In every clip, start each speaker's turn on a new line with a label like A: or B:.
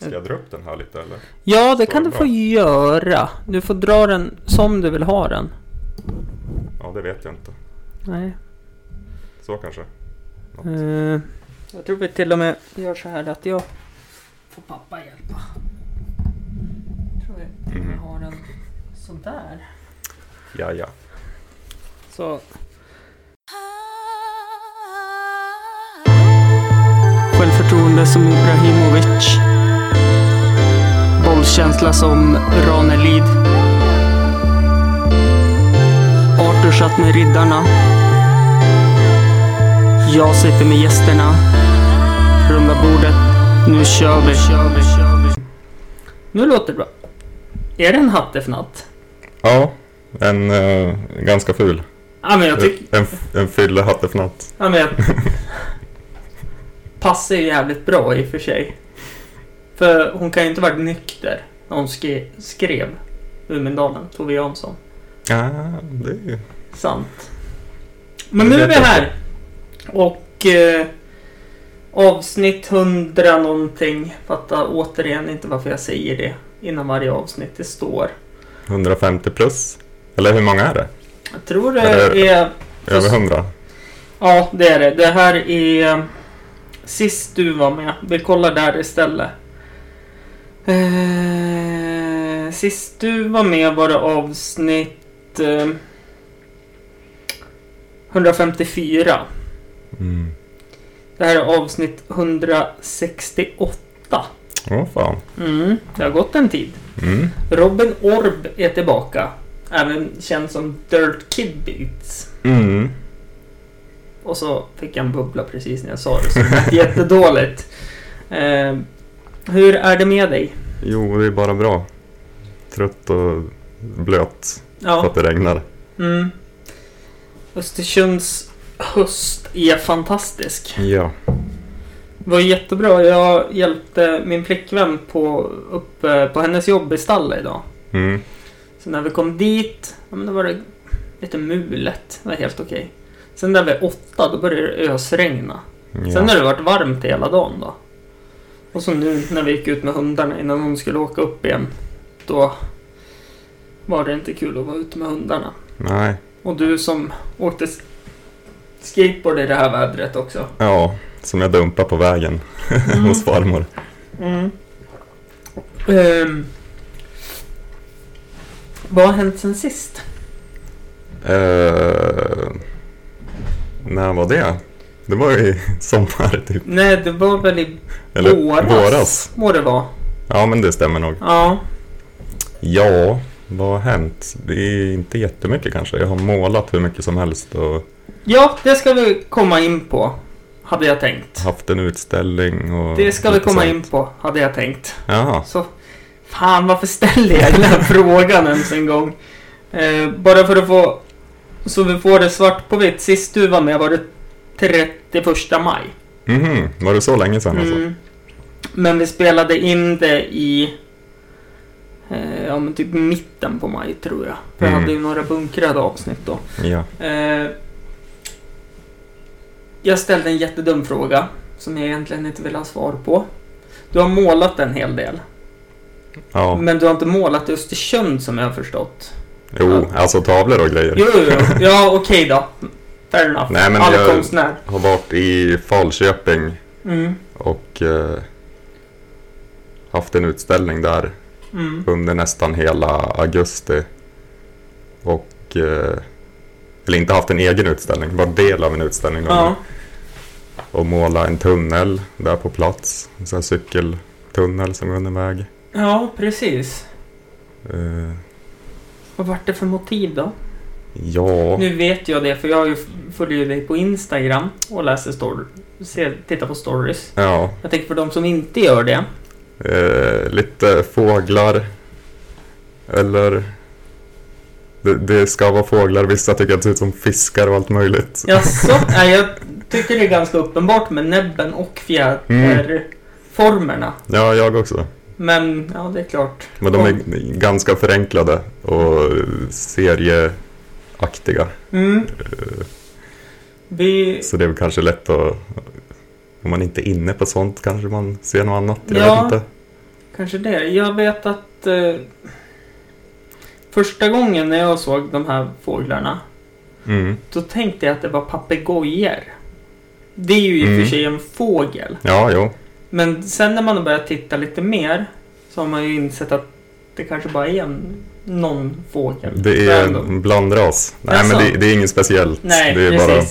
A: Ska jag dra upp den här lite eller?
B: Ja, det kan
A: det
B: du
A: bra?
B: få göra. Du får dra den som du vill ha den.
A: Ja, det vet jag inte.
B: Nej.
A: Så kanske. Något.
B: Eh, jag tror vi till och med gör så här att jag får pappa hjälpa. Jag tror vi
A: Mhm.
B: har den sådär.
A: Ja, ja.
B: Så
C: Självförtroende som Ibrahimovic. Bollkänsla som Ranelid. Arthur satt med riddarna. Jag sitter med gästerna. Runda bordet. Nu kör vi. Kör vi, kör vi.
B: nu låter det bra. Är det en hattefnatt?
A: Ja, en eh, ganska ful.
B: Ja, men jag tycker...
A: En, en fyllehattefnatt.
B: Ja, men jag... Passar ju jävligt bra i och för sig. För hon kan ju inte varit nykter när hon skre- skrev Umindalen, Tove Jansson.
A: Ja, det är ju...
B: Sant. Men
A: Det
B: nu är
A: vet
B: vi
A: jag
B: här. Och eh, avsnitt 100 någonting. Fatta återigen inte varför jag säger det innan varje avsnitt. Det står.
A: 150 plus. Eller hur många är det?
B: Jag tror
A: Eller-
B: det är...
A: Över 100?
B: Ja, det är det. Det här är eh, sist du var med. Vi kollar där istället. Eh, sist du var med var det avsnitt eh, 154.
A: Mm.
B: Det här är avsnitt 168.
A: Åh fan.
B: Mm, det har gått en tid.
A: Mm.
B: Robin Orb är tillbaka. Även känd som Dirt Kid Beats.
A: Mm.
B: Och så fick jag en bubbla precis när jag sa det, så det lät jättedåligt. Eh, hur är det med dig?
A: Jo, det är bara bra. Trött och blöt för
B: Ja.
A: att det regnar.
B: Mm. Östersunds höst är fantastisk.
A: Ja.
B: Det var jättebra. Jag hjälpte min flickvän på, upp, eh, på hennes jobb i stallet idag.
A: Mm.
B: Så när vi kom dit, ja, men då var det lite mulet. Det var helt okej. Sen där vid åtta, då började det ösregna. Sen
A: Ja.
B: har det varit varmt hela dagen då. Och så nu när vi gick ut med hundarna innan hon skulle åka upp igen. Då var det inte kul att vara ute med hundarna.
A: Nej.
B: Och du som åkte s- skateboard i det här vädret också.
A: Ja, som jag dumpar på vägen
B: Mm.
A: hos farmor.
B: Ehm, vad har hänt sen sist?
A: Eh, när var det? Det var ju i sommar typ.
B: Nej, det var väl i
A: Eller
B: våras?
A: våras.
B: Må det vara.
A: Ja, men det stämmer nog.
B: Ja.
A: Ja, vad har hänt? Det är inte jättemycket kanske. Jag har målat hur mycket som helst och
B: ja, det ska vi komma in på. Hade jag tänkt.
A: haft en utställning. Och
B: Det ska vi
A: lite
B: komma
A: sånt.
B: in på, hade jag tänkt.
A: Jaha.
B: Så, fan varför ställer jag den här frågan ens en gång? Eh, bara för att få, så vi får det svart på vitt. Sist du var med var det 31 maj.
A: Mhm, var det så länge sedan alltså?
B: Mm. Men vi spelade in det i, eh, ja men typ mitten på maj tror jag. För jag
A: Mm.
B: hade ju några bunkrade avsnitt då.
A: Ja.
B: Eh, jag ställde en jättedum fråga som jag egentligen inte vill ha svar på. Du har målat en hel del.
A: ja.
B: Men du har inte målat Östersund som jag har förstått?
A: Jo, alltså tavlor och grejer.
B: Jo, jo, jo. ja okej då. Fair enough.
A: Nej, men
B: All
A: jag-
B: konstnär.
A: Har varit i Falköping
B: Mm,
A: och eh, haft en utställning där
B: mm,
A: under nästan hela augusti. Och... Eh, eller inte haft en egen utställning, bara del av en utställning.
B: ja.
A: Och måla en tunnel där på plats. En sån här cykeltunnel som går under en väg.
B: ja, precis.
A: Eh,
B: Vad vart det för motiv då?
A: ja,
B: Nu vet jag det för jag har ju f- följer ju dig på Instagram och läser story, ser, tittar på stories.
A: ja.
B: Jag tänker för de som inte gör det.
A: Eh, lite fåglar. Eller... Det, det ska vara fåglar, vissa tycker att det ser ut som fiskar och allt möjligt.
B: Jaså? Nej, jag tycker det är ganska uppenbart med näbben och fjäderformerna.
A: Ja, jag också.
B: Men ja, det är klart.
A: Mm. Men de är g- ganska förenklade och serieaktiga.
B: Mm.
A: Eh,
B: Vi
A: Så det är väl kanske lätt att... Om man inte är inne på sånt kanske man ser något annat. Jag
B: Ja.
A: vet inte.
B: Kanske det. Jag vet att eh, första gången när jag såg de här fåglarna
A: Mm.
B: då tänkte jag att det var papegojor. Det är ju i och
A: Mm.
B: för sig en fågel.
A: Ja, jo.
B: Men sen när man har börjat titta lite mer så har man ju insett att det kanske bara är en, någon fågel.
A: Det är en blandras. Nej,
B: Jaså?
A: men det, det är inget speciellt.
B: Nej,
A: det är
B: precis.
A: bara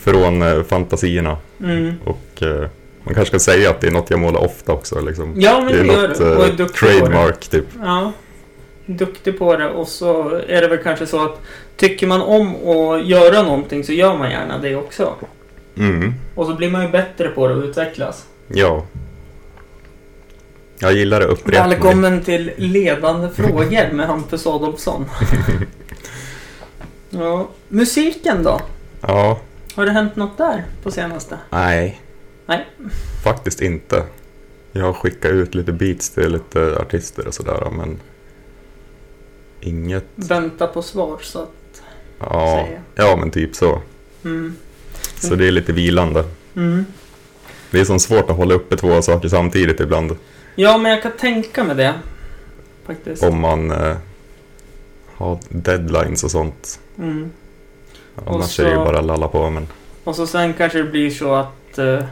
A: från eh, fantasierna.
B: Mm.
A: Och eh, man kanske ska säga att det är något jag målar ofta också. Liksom.
B: Ja, men
A: det är
B: det gör
A: något
B: du. Och är
A: eh,
B: duktig på det.
A: trademark typ.
B: Ja. Duktig på det och så är det väl kanske så att tycker man om att göra någonting så gör man gärna det också.
A: Mm.
B: Och så blir man ju bättre på det och utvecklas.
A: Ja. Jag gillar det upprepning.
B: Välkommen till Ledande frågor med Hampus Adolfsson. ja, musiken då?
A: Ja.
B: Har det hänt något där på senaste?
A: Nej.
B: Nej.
A: Faktiskt inte. Jag har skickat ut lite beats till lite artister och sådär men inget.
B: Vänta på svar så att
A: Ja,
B: säga.
A: ja men typ så.
B: Mm.
A: Så det är lite vilande.
B: Mm.
A: Det är så svårt att hålla uppe två saker samtidigt ibland
B: Ja, men jag kan tänka mig det. Faktiskt.
A: om man eh, har deadlines och sånt.
B: Mm.
A: Annars
B: så-
A: är det ju bara att lalla på men
B: Och så sen kanske det blir så att... eh,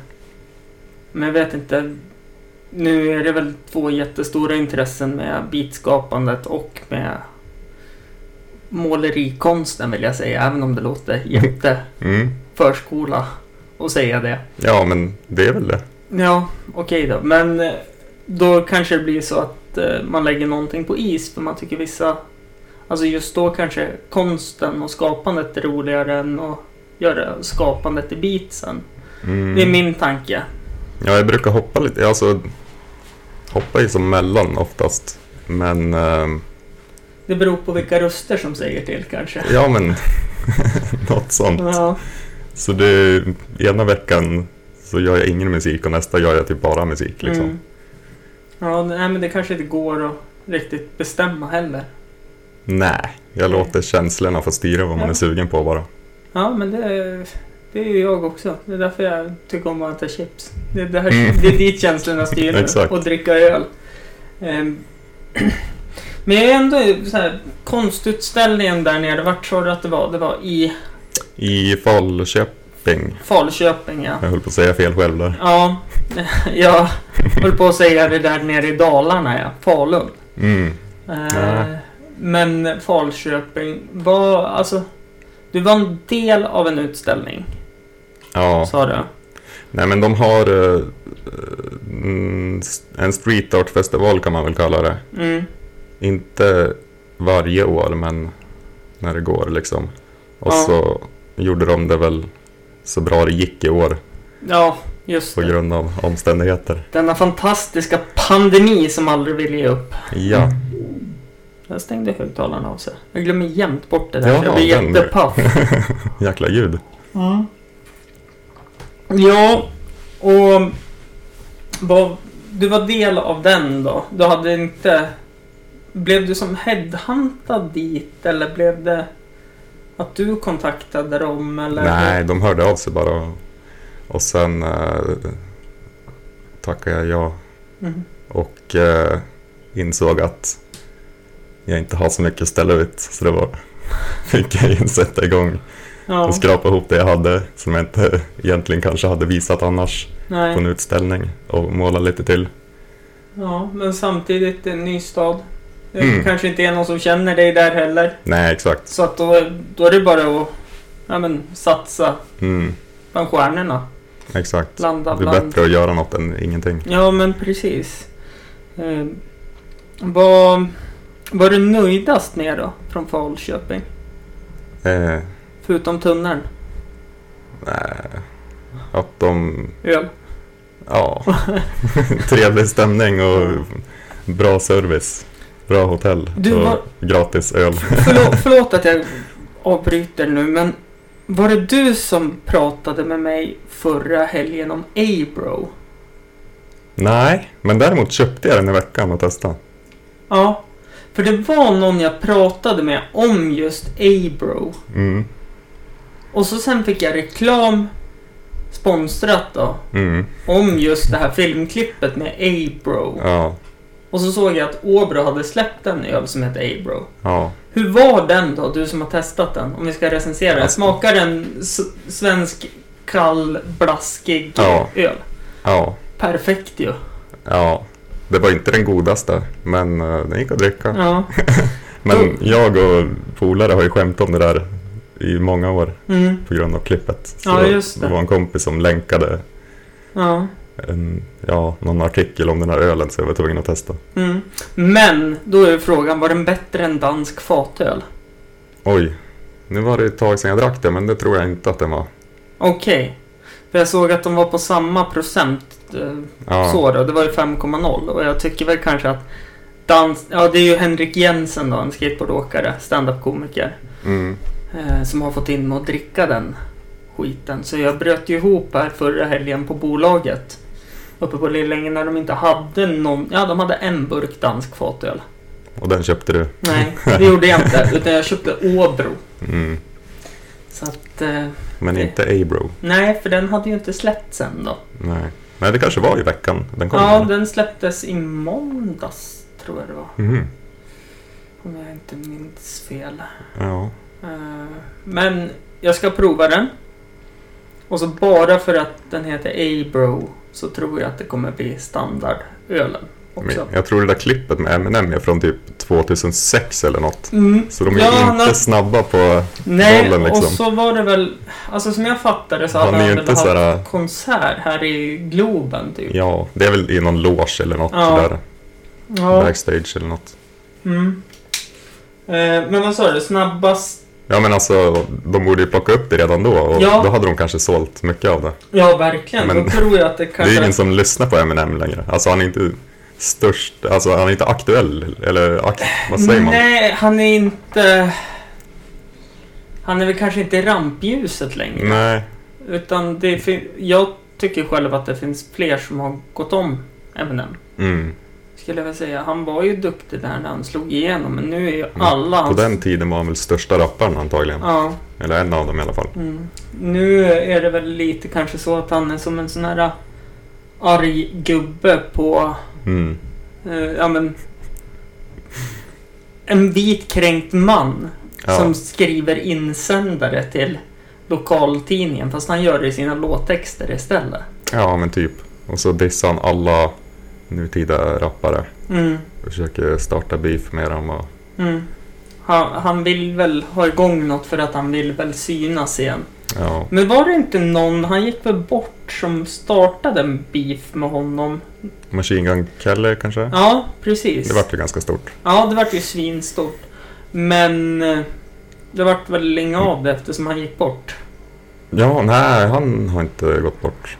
B: Men jag vet inte. Nu är det väl två jättestora intressen med beatskapandet och med målerikonsten vill jag säga. Även om det låter
A: mm.
B: jätteförskola att säga det.
A: Ja men det är väl det.
B: Ja, okej då. Men eh, då kanske det blir så att eh, man lägger någonting på is för man tycker vissa... Alltså just då kanske konsten och skapandet är roligare än att göra skapandet i beatsen.
A: Mm.
B: Det är min tanke.
A: Ja, jag brukar hoppa lite. Alltså, hoppa ju som mellan oftast. Men, ehm,
B: Det beror på vilka röster som säger till kanske.
A: ja men, något sånt.
B: Ja.
A: Så det, ena veckan så gör jag ingen musik och nästa gör jag typ bara musik liksom.
B: Mm. Ja, nej, men det kanske inte går att riktigt bestämma heller.
A: Nej, jag låter känslorna få styra vad man
B: Ja.
A: är sugen på bara.
B: Ja, men det, det är ju jag också. Det är därför jag tycker om att äta chips. Det, det, här,
A: Mm.
B: det är dit känslorna styr
A: Exakt.
B: och dricka öl. Ehm, Men jag är ändå så här, konstutställningen där nere, vart sa du att det var? Det var i
A: I Falköping,
B: Falköping ja.
A: jag höll på att säga fel själv där.
B: Ja, jag höll på att säga det där nere i Dalarna ja, Falun.
A: Mm.
B: Eh,
A: Nej.
B: men Falköping var alltså... Du var en del av en utställning,
A: Ja,
B: sa du.
A: nej men de har eh, mm, en street art festival kan man väl kalla det.
B: Mm.
A: Inte varje år, men när det går liksom. Och
B: Ja.
A: så gjorde de det väl så bra det gick i år
B: Ja, just
A: på
B: det.
A: grund av omständigheter.
B: Denna fantastiska pandemi som aldrig vill ge upp.
A: Ja,
B: Mm. Jag stängde högtalarna av sig. Jag glömmer jämt bort det där, så jag
A: Jaha,
B: blir
A: den där.
B: jättepaff.
A: jäkla ljud.
B: Mm. Ja, och... Vad, du var del av den då? Du hade inte... Blev du som headhuntad dit eller blev det att du kontaktade dem eller?
A: Nej, de hörde av sig bara. Och sen eh, tackade jag ja
B: Mm.
A: och eh, insåg att jag inte har så mycket att ställa ut. Så det var fick jag ju sätta igång
B: Ja,
A: och skrapa ihop det jag hade som jag inte egentligen kanske hade visat annars. på
B: nej.
A: en utställning och måla lite till.
B: ja, men samtidigt det är en ny stad. Det
A: Mm.
B: kanske inte är någon som känner dig där heller.
A: Nej, exakt.
B: Så att då, då är det bara att ja, men, satsa
A: Mm,
B: bland stjärnorna.
A: exakt.
B: Landa
A: Det
B: bland
A: är bättre att göra något än ingenting.
B: Ja, men precis. Eh, var, var du nöjdast med då från Falköping?
A: Eh,
B: Förutom tunneln?
A: nej. Att de...
B: Öl?
A: Ja. Trevlig stämning och bra service. Bra hotell
B: Du
A: och
B: var-
A: gratis öl.
B: Förlåt, förlåt att jag avbryter nu, men var det du som pratade med mig förra helgen om A-bro?
A: Nej, men däremot köpte jag den i veckan och testade.
B: Ja, för det var någon jag pratade med om just A-bro.
A: Mm,
B: Och så sen fick jag reklam sponsrat då
A: mm,
B: om just det här filmklippet med A-bro.
A: ja.
B: Och så såg jag att Åbro hade släppt en öl som heter Abro.
A: Ja.
B: Hur var den då, du som har testat den? Om vi ska recensera den.
A: Alltså-
B: Smakar den s- svensk kall, blaskig
A: Ja.
B: öl?
A: Ja.
B: Perfekt ju.
A: Ja. Det var inte den godaste, men eh, den gick att dricka.
B: Ja.
A: Men jag och polare har ju skämtat om det där i många år
B: Mm.
A: på grund av klippet. Så
B: Ja, just det.
A: var en kompis som länkade
B: Ja.
A: en, ja, någon artikel om den här ölen så jag var tvungen att testa.
B: Mm. Men då är frågan, var den bättre än dansk fatöl?
A: Oj, nu var det ett tag sedan jag drack det men det tror jag inte att den var.
B: Okej. För jag såg att de var på samma procent. Eh,
A: Ja,
B: Så då, det var ju 5,0 och jag tycker väl kanske att dans... Ja, det är ju Henrik Jensen då, en skateboardåkare, standup-komiker.
A: Mm,
B: Eh, som har fått in mig att dricka den skiten. Så jag bröt ju ihop här förra helgen på bolaget. Uppe på Lillänge när de inte hade någon... Ja, de hade en burk dansk fatöl.
A: och den köpte du.
B: Nej, det gjorde jag inte. Utan jag köpte Åbro.
A: Mm.
B: Så att... Eh,
A: Men inte Abro.
B: nej, för den hade ju inte släppts än då.
A: Nej. Nej, det kanske var i veckan den kom.
B: Ja, den släpptes i måndags tror jag det var.
A: Mhm.
B: Om jag inte minns fel.
A: Ja.
B: Eh, Men jag ska prova den. Och så bara för att den heter A-Bro så tror jag att det kommer bli standardölen också.
A: Men jag tror det där klippet med Eminem är från typ 2006 eller något.
B: Mm.
A: Så de är
B: Ja,
A: inte
B: nå-
A: snabba på...
B: Nej,
A: bollen, liksom.
B: och så var det väl... Alltså som jag fattade så
A: Han
B: hade
A: är ju
B: han
A: inte
B: väl
A: så
B: haft
A: här...
B: konsert här i Globen typ.
A: Ja, det är väl i någon loge eller något
B: Ja.
A: där.
B: Ja.
A: Backstage eller något.
B: Mm. Eh, Men vad sa du? Snabbast
A: Ja men alltså, de borde ju plocka upp det redan då och
B: Ja.
A: då hade de kanske sålt mycket av det.
B: Ja, verkligen.
A: Men
B: Då tror jag att det
A: Det är
B: kanske...
A: ju ingen som lyssnar på Eminem längre. Alltså han är inte störst, alltså han är inte aktuell eller akt, vad säger man?
B: Nej, han är inte... Han är väl kanske inte i rampljuset längre.
A: Nej.
B: Utan det fin... Jag tycker själv att det finns fler som har gått om Eminem.
A: Mm.
B: Skulle jag vilja säga. Han var ju duktig där när han slog igenom, men nu är ju
A: Ja,
B: alla
A: På
B: hans...
A: den tiden var han väl största rapparen antagligen.
B: Ja.
A: Eller en av dem i alla fall.
B: Mm. Nu är det väl lite kanske så att han är som en sån här äh, arg gubbe på...
A: Mm.
B: Eh, ja, men... En vit kränkt man.
A: Ja.
B: som skriver insändare till lokaltidningen fast han gör det i sina låttexter istället.
A: ja men typ. Och så dissar han alla nutida rappare.
B: Mm,
A: Försöker starta beef med dem och...
B: mm. Han, han vill väl ha igång något för att han vill väl synas igen.
A: Ja.
B: Men var det inte någon, han gick väl bort, som startade en beef med honom?
A: Machine Gun Kelly kanske?
B: Ja, precis.
A: Det vart ju ganska stort.
B: Ja, det vart ju svinstort. Men eh, det vart väl inga av det eftersom han gick bort.
A: Ja, nej, han har inte gått bort.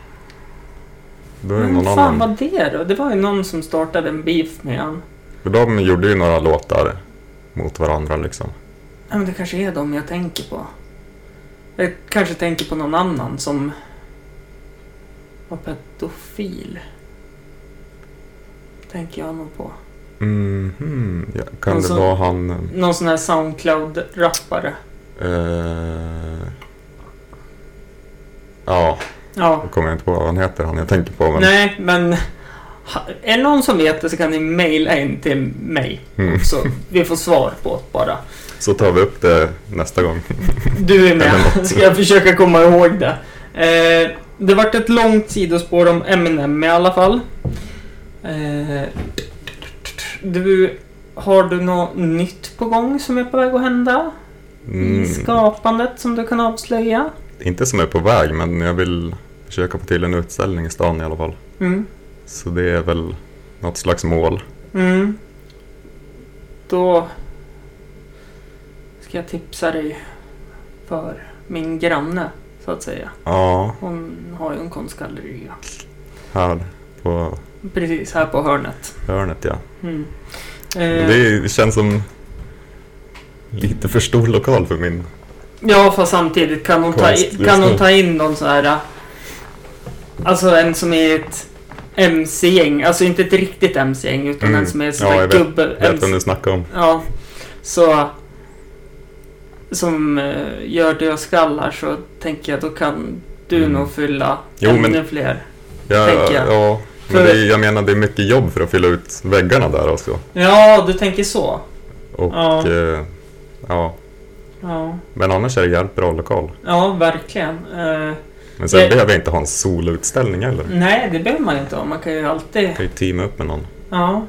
A: Då är det
B: Men
A: någon
B: fan
A: annan.
B: var det då? Det var ju någon som startade en beef med han.
A: För de gjorde ju några låtar mot varandra liksom.
B: Ja, men det kanske är dem jag tänker på. Jag kanske tänker på någon annan som var pedofil. Tänker jag nog på.
A: Mhm, ja, kan
B: Alltså-
A: det vara han...
B: Någon sån här Soundcloud-rappare.
A: Eh, ja,
B: Ja.
A: då kommer jag inte på vad han heter, han jag tänker på. Men,
B: Nej, men ha- är det någon som vet det så kan ni mejla in till mig.
A: Mm,
B: Så vi får svar på det bara.
A: så tar vi upp det nästa gång.
B: Du är
A: Eller
B: med.
A: något.
B: Ska jag försöka komma ihåg det. Eh, det vart ett långt sidospår om Eminem i alla fall. Eh, du, har du något nytt på gång som är på väg att hända?
A: Mm,
B: I skapandet som du kan avslöja?
A: inte som är på väg, men jag vill försöka få till en utställning i stan i alla fall.
B: Mm.
A: Så det är väl något slags mål.
B: Mm. Då ska jag tipsa dig för min granne, så att säga.
A: Ja,
B: Hon har ju en konstgalleria.
A: här på
B: Precis här på hörnet.
A: hörnet ja.
B: Mm.
A: Men
B: Eh,
A: Det känns som lite för stor lokal för min...
B: Ja, fast samtidigt kan hon, ta,
A: Konst
B: i-
A: just
B: kan hon
A: nu.
B: ta in någon sån här... äh, Alltså en som är ett MC-gäng. Alltså inte ett riktigt MC-gäng utan
A: Mm.
B: en som är ett
A: Ja,
B: sånt här
A: jag vet-
B: gubbe...
A: Vet
B: MC
A: vem du snackar om?
B: ja. Så... Som eh, gör dödskallar så tänker jag då kan du
A: Mm.
B: nog fylla
A: Jo,
B: ännu
A: men-
B: fler.
A: Ja,
B: tänker jag.
A: ja, Men det är, jag menar, det är mycket jobb för att fylla ut väggarna där också.
B: Ja, du tänker så.
A: Och,
B: Ja.
A: ja. Eh, ja.
B: Ja,
A: Men annars är det jävligt bra lokal.
B: ja verkligen. Eh,
A: Men sen
B: Det-
A: behöver jag inte ha en soloutställning heller.
B: nej, det behöver man inte ha. Man kan ju alltid...
A: Jag kan ju teama upp med någon.
B: Ja.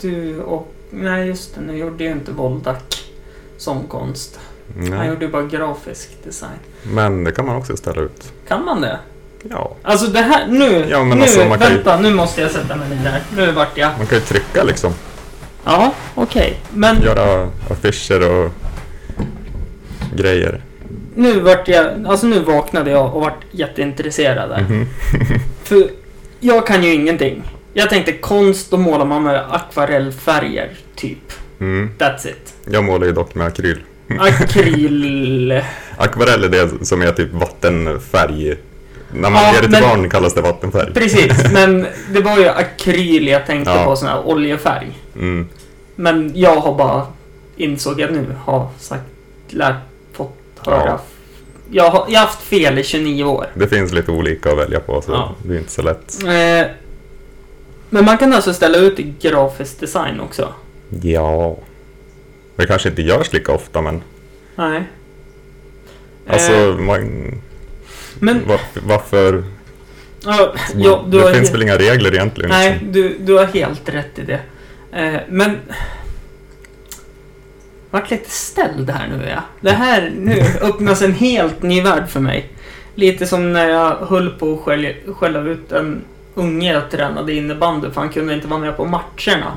B: Du och... Nej, just det. Nu gjorde ju inte Voldak som konst. Han
A: Nej.
B: gjorde ju bara grafisk design.
A: Men det kan man också ställa ut.
B: Kan man det?
A: Ja.
B: Alltså det här, nu,
A: Ja, men
B: nu,
A: alltså, man kan ju-
B: vänta, nu måste jag sätta mig ner. Nu vart jag...
A: Man kan ju trycka liksom.
B: Ja, okej. Men
A: Göra affischer och grejer.
B: nu vart jag... Alltså nu vaknade jag och vart jätteintresserad där.
A: Mhm.
B: För jag kan ju ingenting. Jag tänkte konst, då målar man med akvarellfärger, typ.
A: Mm.
B: That's it.
A: Jag målar ju dock med akryl.
B: Akryl...
A: Akvarell är det som är typ vattenfärg. När man
B: Ja,
A: ger det till
B: men-
A: barn kallas det vattenfärg.
B: Precis, men det var ju akryl jag tänkte
A: Ja.
B: på, sån här oljefärg.
A: Mm.
B: Men jag har bara insåg jag nu har sagt, lärt, fått höra.
A: Ja.
B: Jag, har, jag har haft fel i 29 år.
A: Det finns lite olika att välja på så
B: Ja.
A: det är inte så lätt.
B: Eh, men man kan alltså ställa ut i grafisk design också?
A: Ja. Det kanske inte görs lika ofta men
B: Nej.
A: alltså
B: eh,
A: man,
B: men
A: varför, varför
B: ja, ja, du har
A: Det finns
B: helt,
A: väl inga regler egentligen?
B: Nej,
A: liksom.
B: du, du har helt rätt i det. Eh, men... Jag vart lite ställd här nu är jag. Det här, nu öppnas en helt ny värld för mig. Lite som när jag höll på att skälja, skälla ut en unge jag tränade innebandy för han kunde inte vara med på matcherna.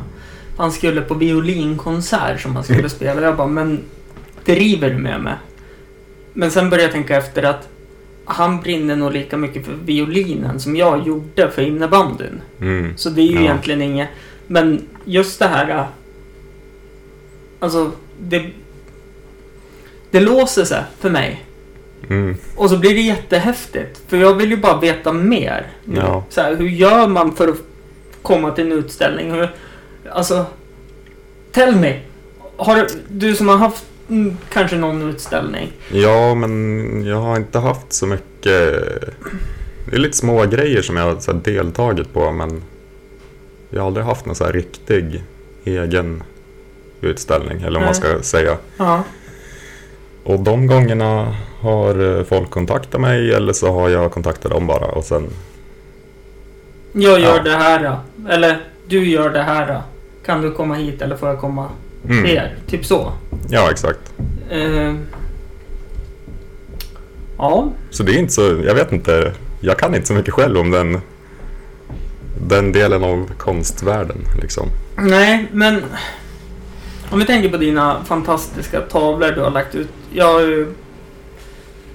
B: Han skulle på violinkonsert som han skulle
A: Mm.
B: spela. Jag bara, men driver du med mig? Men sen började jag tänka efter att han brinner nog lika mycket för violinen som jag gjorde för innebandyn.
A: Mm.
B: Så det är ju
A: Ja.
B: egentligen inget. Men just det här. äh, Alltså, det, det låser sig för mig.
A: Mm.
B: Och så blir det jättehäftigt. För jag vill ju bara veta mer.
A: Ja.
B: Så här, hur gör man för att komma till en utställning? Hur, alltså, tell me. Har du, du som har haft mm, kanske någon utställning.
A: Ja, men jag har inte haft så mycket... Det är lite små grejer som jag har så här deltagit på, men jag har aldrig haft någon så här riktig egen utställning, eller vad man ska säga.
B: Ja.
A: Och de gångerna har eh, folk kontaktat mig eller så har jag kontaktat dem bara och sen...
B: Jag gör
A: Ja.
B: det här. äh. Eller du gör det här. äh. Kan du komma hit eller får jag komma till
A: Mm.
B: er? Typ så.
A: Ja, exakt.
B: Eh, ja,
A: Så det är inte så... Jag vet inte. Jag kan inte så mycket själv om den, den delen av konstvärlden, liksom.
B: nej, men om vi tänker på dina fantastiska tavlor du har lagt ut. Jag har ju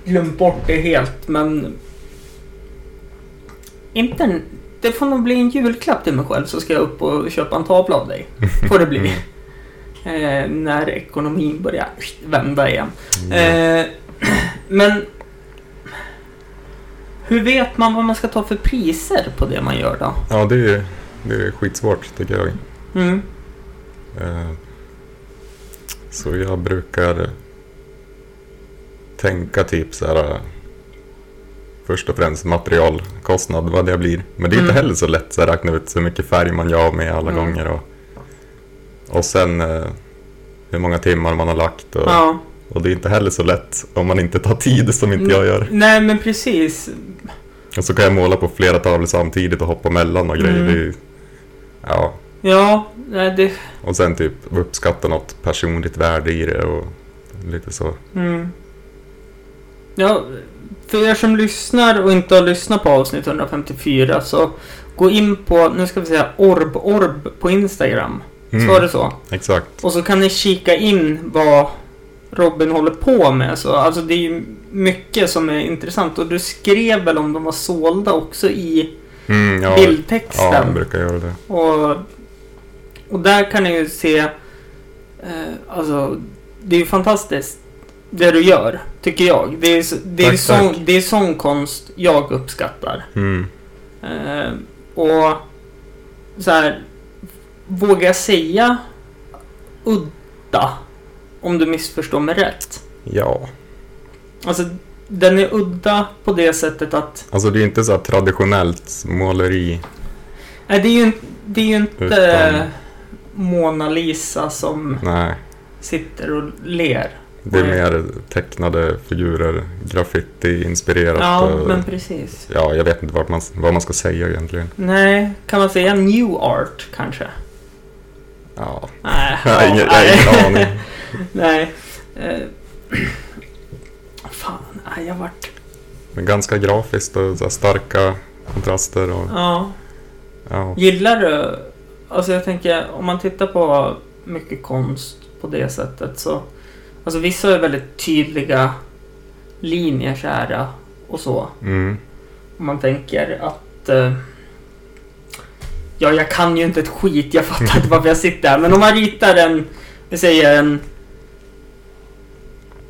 B: glömt bort det helt, men inte en, det får nog bli en julklapp till mig själv så ska jag upp och köpa en tavla av dig. Får det bli.
A: Mm.
B: Eh, när ekonomin börjar vända igen.
A: Mm.
B: Eh, men hur vet man vad man ska ta för priser på det man gör då?
A: Ja, det är, det är skitsvårt tycker jag.
B: Mm.
A: Eh, Så jag brukar tänka typ så här. eh, Först och främst materialkostnad, vad det blir. Men det är inte
B: Mm.
A: heller så lätt så här, räkna ut hur mycket färg man gör av med alla
B: Mm.
A: gånger. Och, och sen eh, hur många timmar man har lagt. Och,
B: Ja.
A: och det är inte heller så lätt om man inte tar tid som inte jag gör.
B: Nej, men precis.
A: Och så kan jag måla på flera tavlor samtidigt och hoppa mellan och grejer.
B: Mm.
A: Det är, ja,
B: Ja, nej, det...
A: Och sen typ uppskatta något personligt värde i det och lite så.
B: Mm. Ja, för er som lyssnar och inte har lyssnat på avsnitt 154 så gå in på, nu ska vi säga Orb Orb på Instagram.
A: Mm,
B: Sa det så?
A: Exakt.
B: Och så kan ni kika in vad Robin håller på med. Så, alltså det är ju mycket som är intressant. Och du skrev väl om de var sålda också i
A: Mm, ja, Ja,
B: bildtexten?
A: jag brukar göra det.
B: Och, och där kan ni ju se, eh, alltså det är ju fantastiskt det du gör, tycker jag. Det är, så- det är,
A: Tack,
B: sån,
A: tack.
B: det är sån konst jag uppskattar.
A: Mm.
B: Eh, och så här, våga säga udda om du missförstår mig rätt.
A: Ja,
B: Alltså, den är udda på det sättet att
A: alltså det är inte så här traditionellt måleri
B: Nej, det är ju, in- det är ju inte
A: Utan-
B: Mona Lisa som
A: Nej,
B: sitter och ler.
A: det är
B: Nej.
A: mer tecknade figurer, graffiti-inspirerat.
B: Ja,
A: och-
B: men precis.
A: ja, jag vet inte vad man, vad man ska säga egentligen.
B: Nej, kan man säga new art kanske?
A: Ja,
B: Nej,
A: jag har ingen, jag har ingen aning.
B: Nej. Eh, Fan, nej, jag vart...
A: Men ganska grafiskt och så här starka kontraster. Och,
B: Ja.
A: ja.
B: Gillar du... Alltså jag tänker, om man tittar på mycket konst på det sättet så... Alltså vissa är väldigt tydliga linjer så här och så.
A: Mm.
B: Om man tänker att... Eh, ja, jag kan ju inte ett skit, jag fattar inte varför jag sitter här. Men om man ritar en... Vi säger en...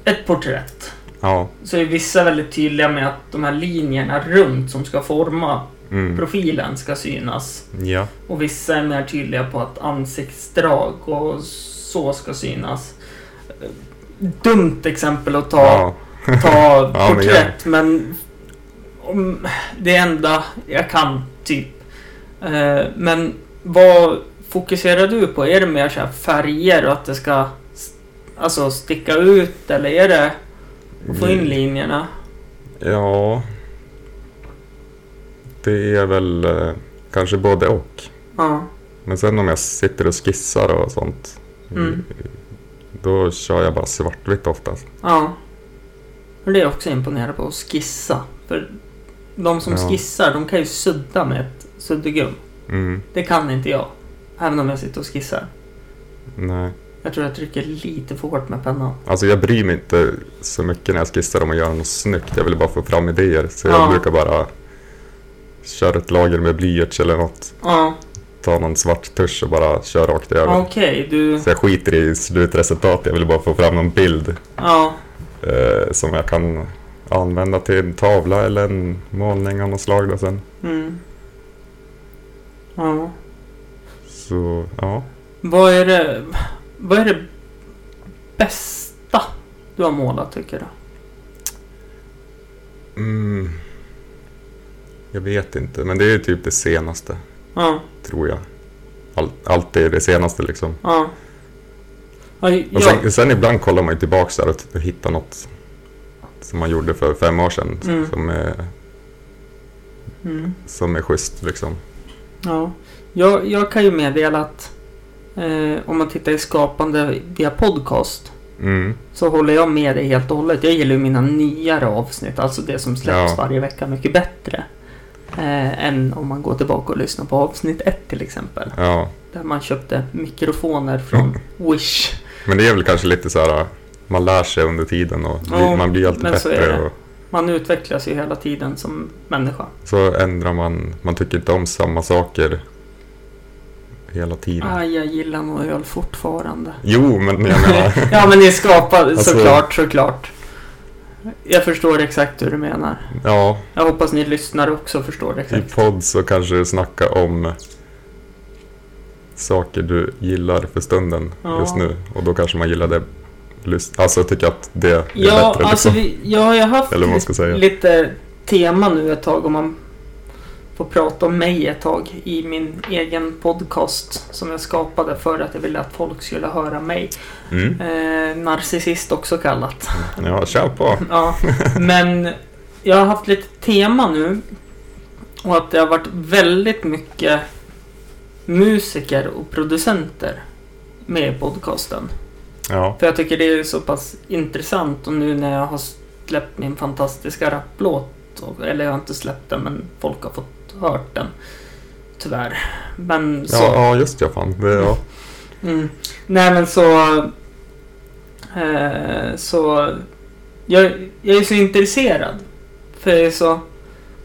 B: Ett porträtt.
A: Ja.
B: Så är vissa väldigt tydliga med att de här linjerna runt som ska forma
A: Mm.
B: profilen ska synas.
A: Ja.
B: Och vissa är mer tydliga på att ansiktsdrag och så ska synas. Eh, Dumt exempel att ta,
A: Ja.
B: ta
A: Ja, men
B: porträtt, men om, det enda jag kan, typ. Eh, Men vad fokuserar du på? Är det mer så här färger och att det ska s- alltså sticka ut, eller är det att få in
A: Mm.
B: linjerna?
A: Ja. Det är väl eh, kanske både och.
B: Ja.
A: Men sen om jag sitter och skissar och sånt.
B: Mm.
A: Då kör jag bara svartvitt oftast.
B: Ja. Och det är jag också imponerad på, att skissa. För de som
A: Ja.
B: skissar, de kan ju sudda med ett suddgum.
A: Mm.
B: Det kan inte jag. Även om jag sitter och skissar.
A: Nej.
B: Jag tror jag trycker lite för hårt med pennan.
A: Alltså jag bryr mig inte så mycket när jag skissar om att göra något snyggt. Jag vill bara få fram idéer. Så
B: Ja.
A: jag brukar bara köra ett lager med blyerts eller något.
B: Ja,
A: Ta någon svart tusch och bara köra rakt över.
B: okej. Du...
A: Så jag skiter i slutresultatet. Jag vill bara få fram någon bild
B: Ja,
A: eh, som jag kan använda till en tavla eller en målning av något slag då sen.
B: mm. Ja.
A: Så ja.
B: Vad är det... Vad är det bästa du har målat, tycker du?
A: Mm. Jag vet inte, men det är ju typ det senaste,
B: Ja,
A: tror jag. All, allt är det senaste liksom.
B: ja. Ja,
A: Och
B: ja.
A: sen, sen ibland kollar man ju tillbaka där och t- och hittar något som man gjorde för fem år sedan s-
B: Mm.
A: som, är,
B: Mm.
A: som är schysst liksom.
B: Ja, jag, jag kan ju meddela att eh, om man tittar i skapande via podcast
A: Mm.
B: så håller jag med dig helt och hållet. Jag gillar ju mina nyare avsnitt, alltså det som släpps
A: Ja.
B: varje vecka, mycket bättre. Eh, än om man går tillbaka och lyssnar på avsnitt ett till exempel.
A: Ja.
B: Där man köpte mikrofoner
A: Mm.
B: från Wish.
A: Men det är väl kanske lite så här, man lär sig under tiden och bli,
B: Ja,
A: man blir alltid
B: men så är
A: bättre.
B: det.
A: och
B: Man utvecklas ju hela tiden som människa.
A: så ändrar man, man tycker inte om samma saker hela tiden.
B: Aj, Ah, jag gillar nog öl fortfarande.
A: Jo, men jag menar,
B: ja, men det är skapat,
A: Alltså-
B: såklart, såklart. Jag förstår exakt hur du menar.
A: ja.
B: Jag hoppas ni lyssnare också förstår
A: I
B: exakt.
A: podd så kanske du snackar om saker du gillar för stunden
B: Ja.
A: just nu. Och då kanske man gillar det. lys- Alltså jag tycker att det är
B: Ja,
A: bättre.
B: alltså
A: liksom.
B: vi, jag har ju haft
A: Eller vad man
B: lite,
A: ska säga.
B: lite tema nu ett tag om man får prata om mig ett tag i min egen podcast som jag skapade för att jag ville att folk skulle höra mig.
A: Mm.
B: Eh, narcissist också kallat.
A: Ja, kör på.
B: Ja, men jag har haft lite tema nu och att det har varit väldigt mycket musiker och producenter med i podcasten.
A: Ja,
B: För jag tycker det är så pass intressant och nu när jag har släppt min fantastiska rapplåt, och- eller jag har inte släppt den men folk har fått hört den. Tyvärr. Men så...
A: ja, ja just ja fan. Det, ja.
B: Mm. Nej men så... Eh, så... Jag, jag är så intresserad. För jag är så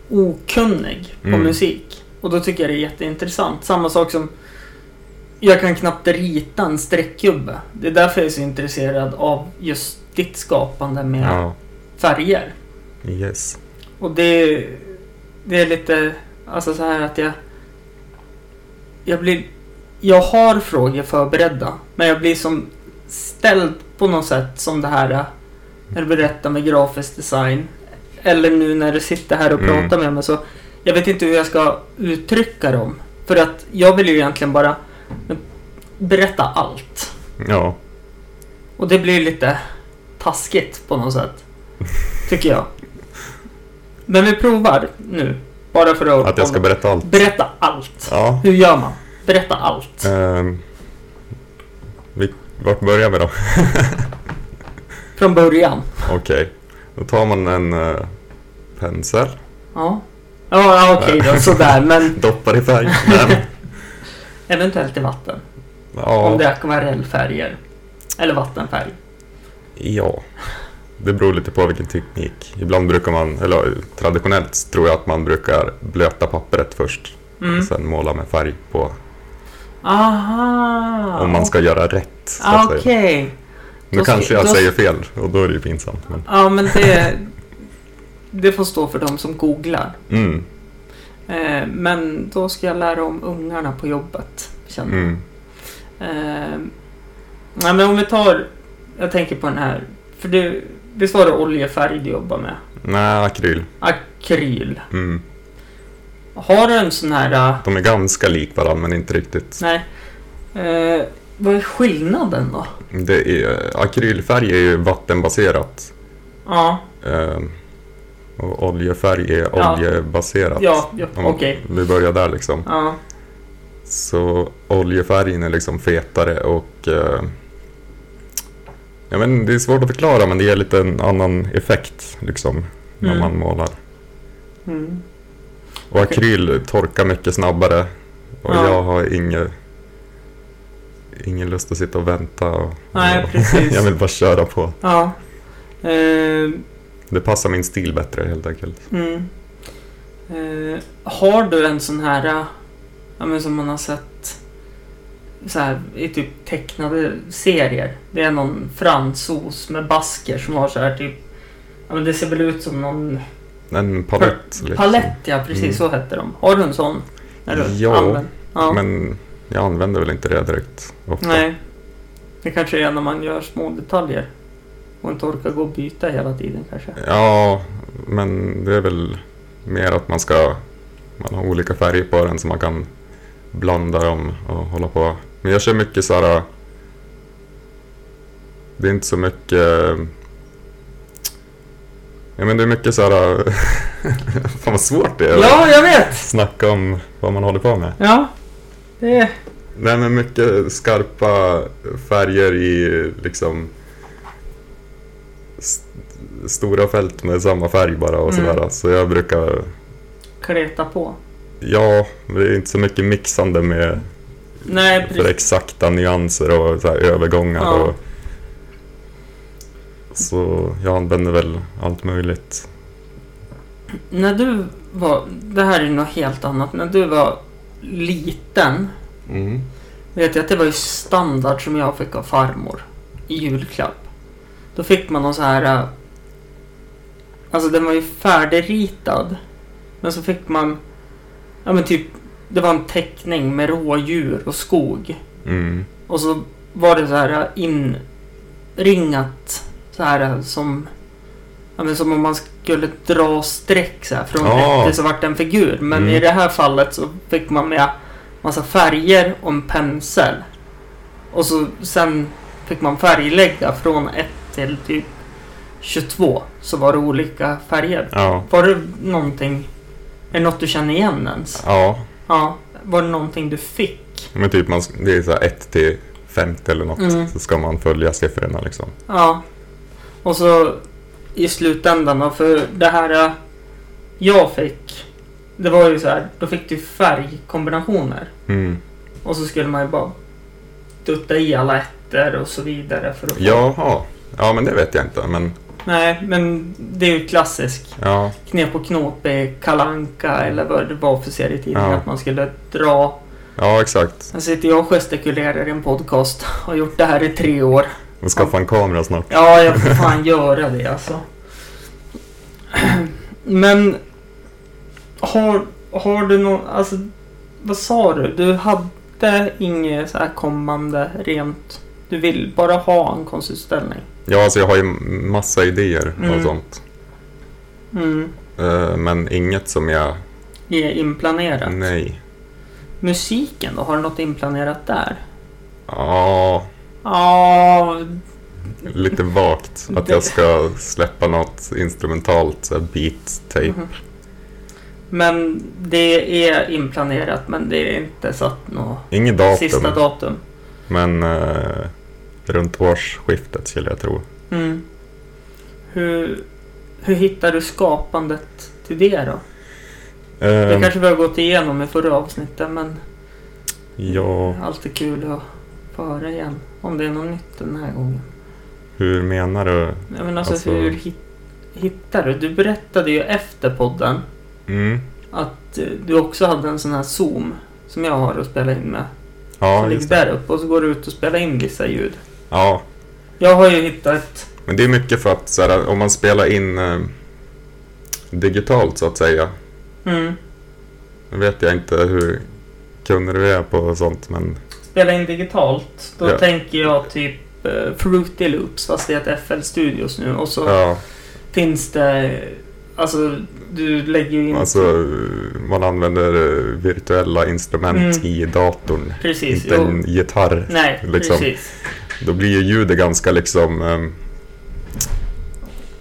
B: okunnig på
A: Mm.
B: musik. Och då tycker jag det är jätteintressant. Samma sak som... Jag kan knappt rita en streckgubbe. Det är därför jag är så intresserad av just ditt skapande med
A: ja.
B: färger.
A: Yes.
B: Och det, det är lite, alltså så här att jag... Jag blir... Jag har frågor förberedda, men jag blir som ställd på något sätt som det här eh, när du berättar med grafisk design. Eller nu när du sitter här och
A: Mm.
B: pratar med mig så... Jag vet inte hur jag ska uttrycka dem. För att jag vill ju egentligen bara berätta allt.
A: Ja,
B: Och det blir lite taskigt på något sätt. Tycker jag. Men vi provar nu. Bara för att...
A: att jag ska berätta allt.
B: Berätta allt.
A: Ja.
B: Hur gör man? Berätta allt.
A: ehm, vi, vart börjar vi då?
B: Från början.
A: Okej, då tar man en eh, pensel,
B: Ja. Ja, ja, okej då. Sådär. Men
A: doppar i färg. Nej,
B: eventuellt i vatten. Om det
A: ja,
B: är akvarellfärger. Eller vattenfärg.
A: ja, det beror lite på vilken teknik. Ibland brukar man, eller traditionellt tror jag att man brukar blöta pappret först.
B: Mm.
A: och Sen måla med färg på,
B: Aha!
A: om man ska göra rätt. Så
B: Ah,
A: att
B: Okej.
A: säga. Nu
B: Då ska-
A: kanske jag
B: då-
A: säger fel och då är det ju pinsamt. Men,
B: Ja, men det... Det får stå för de som googlar.
A: mm,
B: Eh, men då ska jag lära om ungarna på jobbet. Känner. jag.
A: mm,
B: Eh, nej, men om vi tar... Jag tänker på den här. För det, visst var det oljefärg du jobbar med?
A: nej, akryl.
B: Akryl.
A: Mm.
B: Har du en sån här... eh,
A: De är ganska lik varandra men inte riktigt.
B: nej. Eh, vad är skillnaden då?
A: Det är, akrylfärg är ju vattenbaserat.
B: Ja,
A: Eh, och oljefärg är
B: Ja.
A: oljebaserat.
B: ja, ja
A: Om
B: okej.
A: Vi börjar där liksom.
B: Ja,
A: Så oljefärgen är liksom fetare och... Eh, ja, men det är svårt att förklara men det ger lite en annan effekt liksom när
B: Mm.
A: man målar.
B: mm.
A: Och
B: Okej.
A: akryl torkar mycket snabbare och
B: Ja.
A: jag har inget... Ingen lust att sitta och vänta. Och,
B: Nej,
A: och
B: precis.
A: jag vill bara köra på.
B: ja. Eh,
A: Det passar min stil bättre helt enkelt.
B: Mm. Eh, har du en sån här, eh, ja, men som man har sett så här, i typ tecknade serier. Det är någon fransos med basker som har så här typ, ja, men det ser väl ut som någon
A: En palett. liksom.
B: palett, ja precis
A: Mm.
B: så hette de. Har du en sån? När du
A: Ja,
B: använder- ja.
A: Men jag använder väl inte det direkt ofta.
B: Nej. Det kanske är när man gör små detaljer och inte orkar gå och byta hela tiden kanske.
A: Ja, men det är väl mer att man ska... Man har olika färger på den så man kan blanda dem och hålla på. Men jag kör mycket så här... Det är inte så mycket... Ja, men det är mycket så här... Fan vad svårt det är att
B: Ja, jag vet!
A: snacka om vad man håller på med.
B: Ja. Det är...
A: Nej men mycket skarpa färger i liksom st- stora fält med samma färg bara och
B: Mm.
A: sådär. Så jag brukar,
B: Kleta på.
A: ja, det är inte så mycket mixande med
B: Nej,
A: för
B: precis.
A: exakta nyanser och så här, övergångar.
B: Ja.
A: Och, så jag använder väl allt möjligt.
B: När du var, det här är något helt annat, när du var liten vet jag att det var ju standard som jag fick av farmor i julklapp. Då fick man någon så här, eh, alltså den var ju färdigritad, men så fick man, ja men typ, det var en teckning med rådjur och skog.
A: Mm.
B: Och så var det så här eh, inringat så här eh, som ja, men som om man skulle dra streck så här från
A: Ja.
B: rätte så vart det en figur. Men
A: Mm.
B: i det här fallet så fick man med massa färger och en pensel. Och så sen fick man färglägga från 1 till typ 22 så var det olika färger.
A: Ja.
B: Var det någonting, är det något du känner igen ens?
A: ja,
B: Ja, var det någonting du fick?
A: men typ man, det är så här 1 till 50 eller något.
B: Mm.
A: Så ska man följa siffrorna liksom.
B: Ja. Och så i slutändan då, för det här eh, jag fick, det var ju så här, då fick du färgkombinationer.
A: Mm.
B: Och så skulle man ju bara dutta i alla ettor och så vidare. För att få-
A: Jaha, ja men det vet jag inte. Men
B: Nej, men det är ju klassisk
A: ja,
B: knep och knåp i Kalanka eller vad det var för serietidning.
A: Ja.
B: Att man skulle dra.
A: ja exakt.
B: Sen sitter jag och gestikulerar i en podcast. Har gjort det här i tre år.
A: Och skaffa en kamera snart.
B: Ja, jag får fan göra det alltså. Men har, har du någon, alltså vad sa du? Du hade inget så här kommande rent. Du vill bara ha en konstutställning.
A: Ja, alltså jag har ju massa idéer
B: Mm.
A: och sånt.
B: Mm.
A: Eh, Men inget som jag...
B: Är inplanerat.
A: Nej.
B: Musiken då? Har du något inplanerat där?
A: Ja,
B: Ja,
A: lite vagt att jag ska släppa något instrumentalt, så här beat tape.
B: Mhm. Men det är inplanerat men det är inte satt något
A: Inget datum,
B: sista datum.
A: men eh, runt årsskiftet skulle jag tro.
B: Mm. Hur, hur hittar du skapandet till det då? Det
A: Ehm,
B: kanske vi har gått igenom i förra avsnittet men
A: Ja,
B: alltid kul att få höra igen. Om det är något nytt den här gången.
A: hur menar du?
B: Jag menar alltså,
A: Alltså-
B: hur hit, hittar du? Du berättade ju efter podden
A: Mm.
B: att eh, du också hade en sån här zoom som jag har att spela in med.
A: Ja,
B: som
A: just det.
B: ligger där uppe och så går du ut och spelar in vissa ljud.
A: Ja,
B: Jag har ju hittat
A: Men det är mycket för att så här, om man spelar in eh, digitalt så att säga.
B: Mm.
A: Nu vet jag inte hur kunnig du är på sånt men
B: Spela in digitalt, då
A: Ja.
B: tänker jag typ eh, Fruity Loops fast det heter FL Studios nu och så
A: ja,
B: finns det Alltså du lägger ju in
A: alltså eh, man använder eh, virtuella instrument
B: Mm.
A: i datorn.
B: Precis,
A: inte
B: jo.
A: en gitarr.
B: Nej,
A: liksom.
B: precis.
A: Då blir ju ljudet ganska liksom ehm,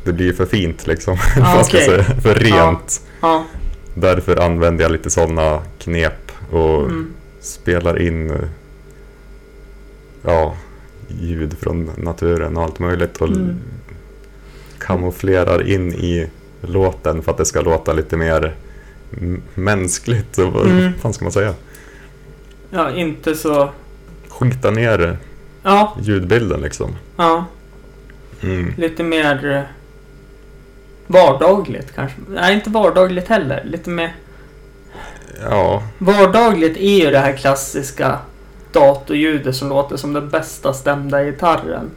A: det blir för fint liksom.
B: Ja,
A: vad ska jag
B: Ah, okej.
A: säga, för
B: Ja.
A: rent.
B: Ja.
A: Därför använder jag lite sådana knep och
B: Mm.
A: spelar in eh, ja, ljud från naturen och allt möjligt och
B: Mm.
A: kamouflerar in i låten för att det ska låta lite mer m- mänskligt. Så vad
B: Mm.
A: fan ska man säga?
B: ja, inte så...
A: Skita ner
B: Ja,
A: ljudbilden liksom.
B: ja.
A: Mm.
B: Lite mer eh, vardagligt kanske. Nej, inte vardagligt heller. Lite mer...
A: Ja,
B: Vardagligt är ju det här klassiska datorljudet som låter som den bästa stämda gitarren.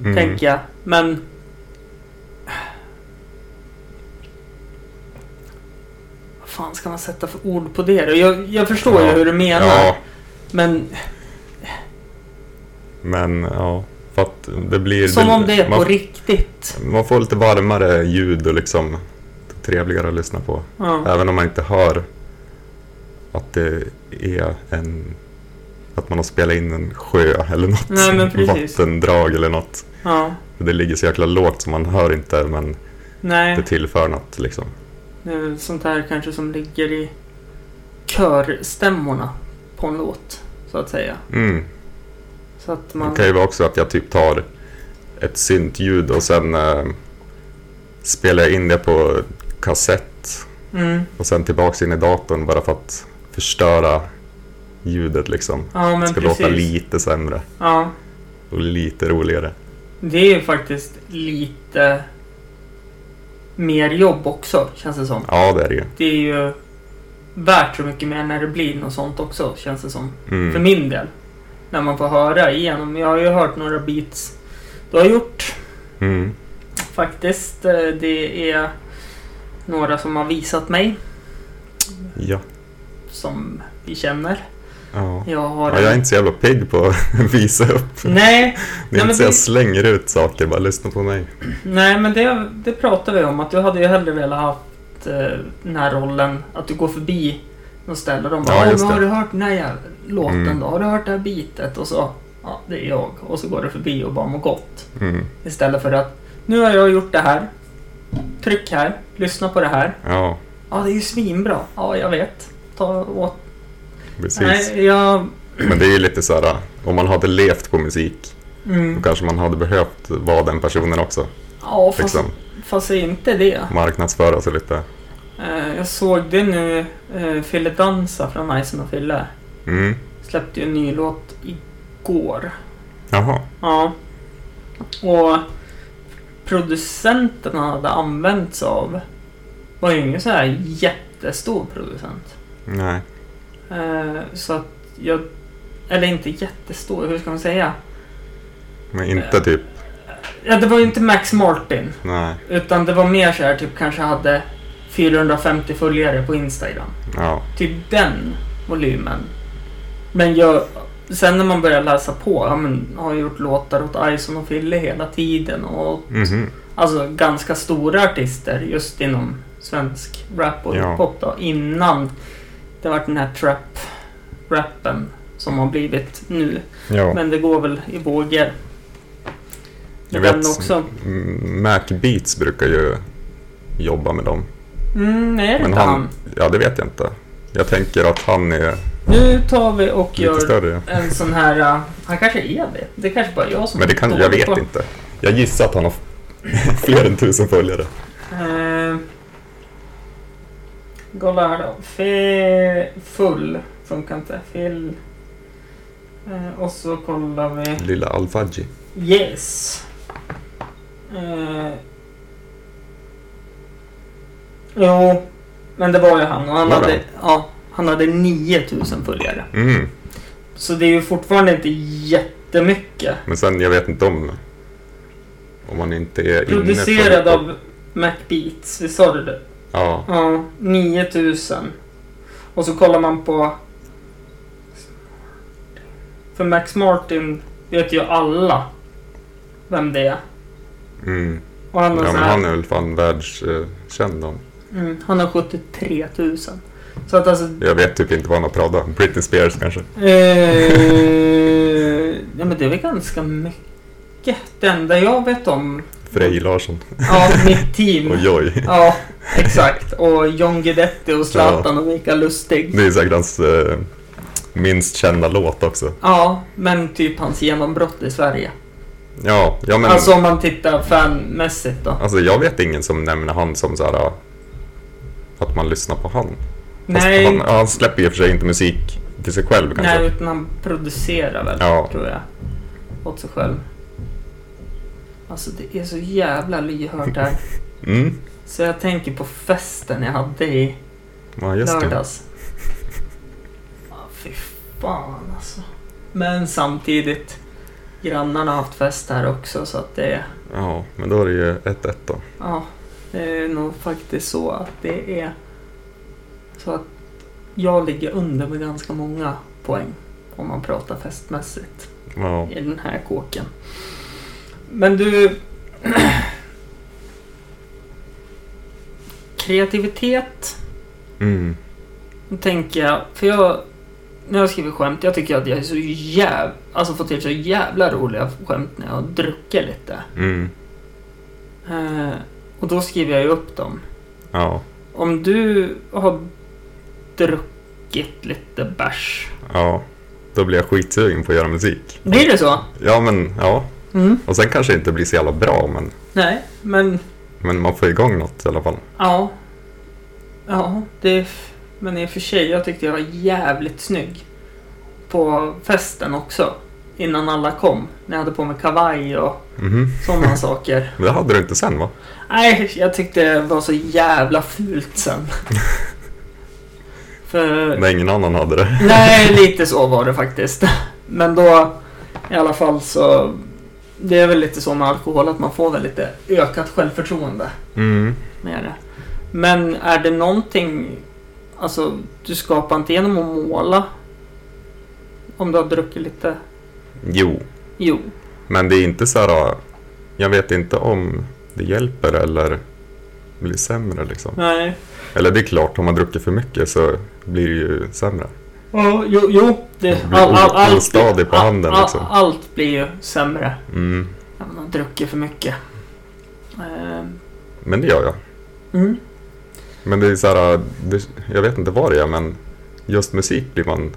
A: mm.
B: tänker jag. Men... Vad fan ska man sätta för ord på det då? Jag, jag förstår ju
A: Ja.
B: hur du menar.
A: Ja,
B: Men
A: men ja, för att det blir...
B: som om det är på
A: man,
B: riktigt.
A: man får lite varmare ljud och liksom trevligare att lyssna på.
B: Ja.
A: Även om man inte hör att det är en... Att man har spelat in en sjö eller något.
B: Nej, men precis.
A: Vattendrag eller något.
B: ja.
A: Det ligger så jäkla lågt så man hör inte men det
B: Nej,
A: tillför något liksom.
B: det är väl sånt här kanske som ligger i körstämmorna på en låt. Så att säga.
A: Mm.
B: Så att
A: Det
B: man...
A: kan ju vara också att jag typ tar ett syntljud och sen eh, spelar jag in det på kassett
B: Mm.
A: och sen tillbaks in i datorn bara för att förstöra ljudet liksom.
B: Ja,
A: Det
B: men
A: ska
B: precis.
A: låta lite sämre
B: ja.
A: och lite roligare.
B: Det är ju faktiskt lite mer jobb också, känns det som.
A: Ja, det är det ju.
B: Det är ju värt så mycket mer när det blir något sånt också, känns det som.
A: Mm.
B: För min del. När man får höra igenom. Jag har ju hört några beats du har gjort
A: Mm.
B: faktiskt. Eh, Det är några som har visat mig,
A: Ja.
B: som vi känner.
A: Ja.
B: Jag har...
A: ja. Jag är inte så jävla pigg på att visa upp.
B: Nej,
A: Det är
B: men
A: inte så
B: det-
A: jag slänger ut saker, bara lyssna på mig.
B: Nej, men det, det pratar vi om. Att du hade ju hellre velat haft eh, den här rollen. Att du går förbi något ställe och de bara
A: Ja,
B: ja,
A: just
B: men har
A: det.
B: du hört den här jävla låten
A: Mm.
B: då? Har du hört det här bitet? Och så, ja, det är jag. Och så går du förbi och bara mår gott.
A: Mm.
B: Istället för att, nu har jag gjort det här. Tryck här, lyssna på det här.
A: Ja,
B: Ja, det är ju svinbra. Ja, jag vet. Ta åt...
A: precis.
B: Nej, jag...
A: Men det är ju lite så här, om man hade levt på musik, då
B: Mm.
A: kanske man hade behövt vara den personen också.
B: Ja, fast,
A: Liksom,
B: fast det är inte det.
A: marknadsföra sig lite.
B: Eh, jag såg det nu, eh, Fille Dansa från Ison och Fille.
A: Mm.
B: släppte ju en ny låt igår.
A: Jaha,
B: Ja. Och producenten han hade använt sig av var ju ingen så här jättestor producent.
A: nej.
B: Eh, så att jag... Eller inte jättestor, hur ska man säga?
A: Men inte typ,
B: Ja, det var ju inte Max Martin.
A: nej.
B: Utan det var mer så här, typ kanske hade 450 följare på Instagram.
A: Ja,
B: Typ den volymen. Men jag, sen när man börjar läsa på, ja, men, har jag gjort låtar åt Ison och Fille hela tiden. Och,
A: mhm.
B: Alltså ganska stora artister just inom svensk rap och
A: Ja.
B: hiphop då, innan det var den här trap rappen som har blivit nu.
A: Ja.
B: Men det går väl i vågor.
A: Jag
B: Med
A: vet.
B: den också.
A: Mm, Mac Beats brukar ju jobba med dem.
B: Mm, nej, det är
A: Men
B: inte
A: han-
B: han.
A: Ja, det vet jag inte. Jag tänker att han är
B: Nu tar vi och
A: lite
B: gör
A: större.
B: en sån här... uh, Han kanske är det. Det är kanske bara jag som
A: Men det kan,
B: är
A: jag
B: dålig
A: vet
B: på-
A: inte. Jag gissar att han har fler än tusen följare.
B: Eh, kolla här då. Fe, full funkar inte. Fill. Eh, och så kollar vi.
A: Lilla Alfaji.
B: Yes. Eh, jo, men det var ju han. Och han,
A: Var det
B: hade,
A: han?
B: ja, han hade 9000 följare.
A: Mm.
B: Så det är ju fortfarande inte jättemycket.
A: Men sen, jag vet inte om... Om man inte är inne
B: Producerad
A: på-
B: av MacBeats. Vi sa det?
A: Ja.
B: Ja, 9000. Och så kollar man på... För Max Martin vet ju alla vem det är.
A: Mm.
B: Och han
A: Ja,
B: har,
A: men
B: så här,
A: han är väl fan världskänd. han.
B: mm, han har 73 000. Så att alltså...
A: Jag vet typ inte vad han har pratat om. Britney Spears kanske.
B: Eh, ja, men det är väl ganska mycket. Det enda jag vet om...
A: Frej Larsson.
B: Ja, mitt team.
A: Och Joy.
B: Ja, exakt. Och John Guidetti och Zlatan och Mikael Lustig.
A: Det är säkert hans eh, minst kända låt också.
B: Ja, men typ hans genombrott i Sverige.
A: Ja, ja men
B: Alltså
A: alltså,
B: om man tittar fanmässigt då.
A: jag vet ingen som nämner han som så här ah, att man lyssnar på han. Fast
B: Nej,
A: Han, ja, han släpper ju för sig inte musik till sig själv kanske.
B: nej, utan han producerar väl,
A: Ja.
B: tror jag. Åt sig själv. Alltså det är så jävla lyhört här.
A: Mm.
B: Så jag tänker på festen jag hade i
A: Ja, just det.
B: lördags. Ah, fy fan alltså. Men samtidigt, grannarna har haft fest här också så att det är...
A: Ja, men då är det ju 1-1 då.
B: Ja, det är nog faktiskt så att det är så att jag ligger under med ganska många poäng om man pratar festmässigt
A: Ja.
B: i den här kåken. Men du... Kreativitet,
A: Mm.
B: då tänker jag, för jag... När jag skriver skämt, jag tycker att jag är så jäv... Alltså får till så jävla roliga skämt när jag dricker lite.
A: Mm.
B: Eh, och då skriver jag ju upp dem.
A: Ja.
B: Om du har druckit lite bärs.
A: Ja. Då blir jag skitsugen på att göra musik.
B: Blir det så?
A: Ja, men ja.
B: Mm.
A: Och sen kanske det inte blir så jävla bra, men,
B: Nej, men
A: men man får igång något i alla fall.
B: ja. Ja, det... är f- Men i och för sig, jag tyckte jag var jävligt snygg. På festen också. Innan alla kom. När jag hade på mig kavaj och
A: Mhm.
B: sådana saker.
A: Men det hade du inte sen va?
B: Nej, jag tyckte det var så jävla fult sen. För...
A: När ingen annan hade det.
B: Nej, lite så var det faktiskt. Men då i alla fall så. Det är väl lite så med alkohol att man får väl lite ökat självförtroende
A: Mm.
B: med det. Men är det någonting, alltså du skapar inte genom att måla? Om du har druckit lite?
A: Jo,
B: Jo.
A: men det är inte så här... Jag vet inte om det hjälper eller blir sämre liksom.
B: Nej.
A: Eller det är klart, om man druckit för mycket så blir det ju sämre.
B: Ja, jo, jo. Det,
A: Det blir o- ostadig på handen,
B: all,
A: liksom.
B: allt blir ju sämre
A: Mm.
B: när man har druckit för mycket. Ehm,
A: Men det gör jag.
B: Mm.
A: Men det är så här, det, jag vet inte vad det är, men just musik blir man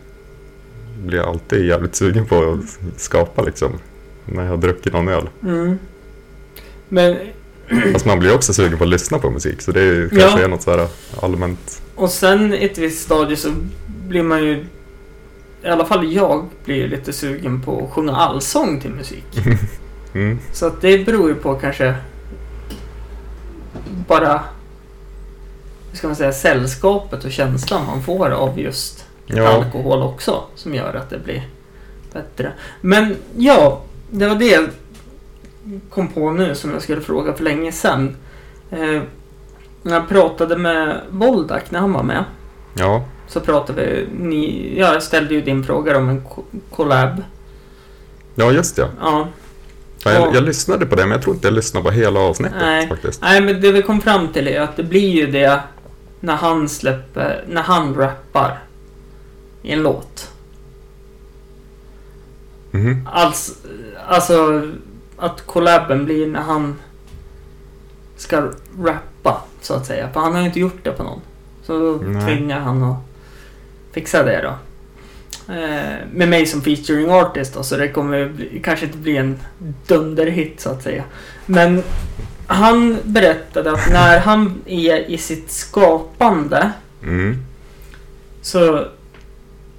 A: blir jag alltid jävligt sugen på att skapa liksom. När jag har druckit någon öl.
B: Mm. Men
A: Fast man blir också sugen på att lyssna på musik, så det är, ju-
B: Ja.
A: kanske är något så här allmänt.
B: Och sen i ett visst stadie så blir man ju... I alla fall jag blir ju lite sugen på att sjunga allsång till musik.
A: Mm.
B: Så att det beror ju på kanske... Bara... Hur ska man säga? Sällskapet och känslan man får av just
A: Ja,
B: alkohol också. Som gör att det blir bättre. Men ja, det var det jag kom på nu som jag skulle fråga för länge sedan. Eh, när jag pratade med Voldak när han var med.
A: ja,
B: Så pratade vi, ni, ja, jag ställde ju din fråga om en ko- collab.
A: ja just ja.
B: Ja.
A: Ja, Jag,
B: Ja.
A: jag lyssnade på det, men jag tror inte jag lyssnade på hela avsnittet
B: Nej.
A: faktiskt.
B: Nej men det vi kom fram till är att det blir ju det när han släpper, när han rappar i en låt.
A: Mhm.
B: Alls, alltså att collaben blir när han ska rappa så att säga. För han har ju inte gjort det på någon. Så då
A: Nej.
B: tvingar han att fixa det då. Eh, med mig som featuring artist då, så det kommer bli, kanske inte bli en dunderhit så att säga. Men han berättade att när han är i sitt skapande
A: Mm.
B: så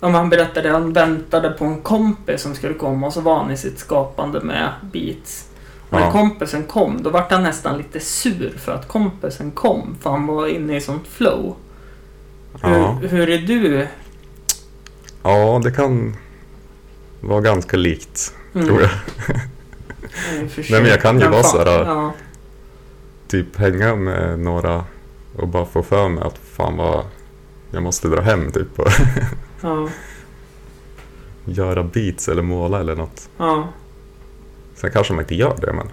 B: om han berättade att han väntade på en kompis som skulle komma och så var han i sitt skapande med beats. Och när
A: Ja.
B: kompisen kom, då vart han nästan lite sur för att kompisen kom. För han var inne i sånt flow.
A: Ja.
B: Hur, hur är du?
A: ja, det kan vara ganska likt. Tror jag.
B: Mm. jag.
A: Nej, men jag kan ju vara så här,
B: Ja.
A: Typ hänga med några och bara få för mig att fan vad jag måste dra hem typ och
B: Ja.
A: göra beats eller måla eller något.
B: ja.
A: Sen kanske man inte gör det men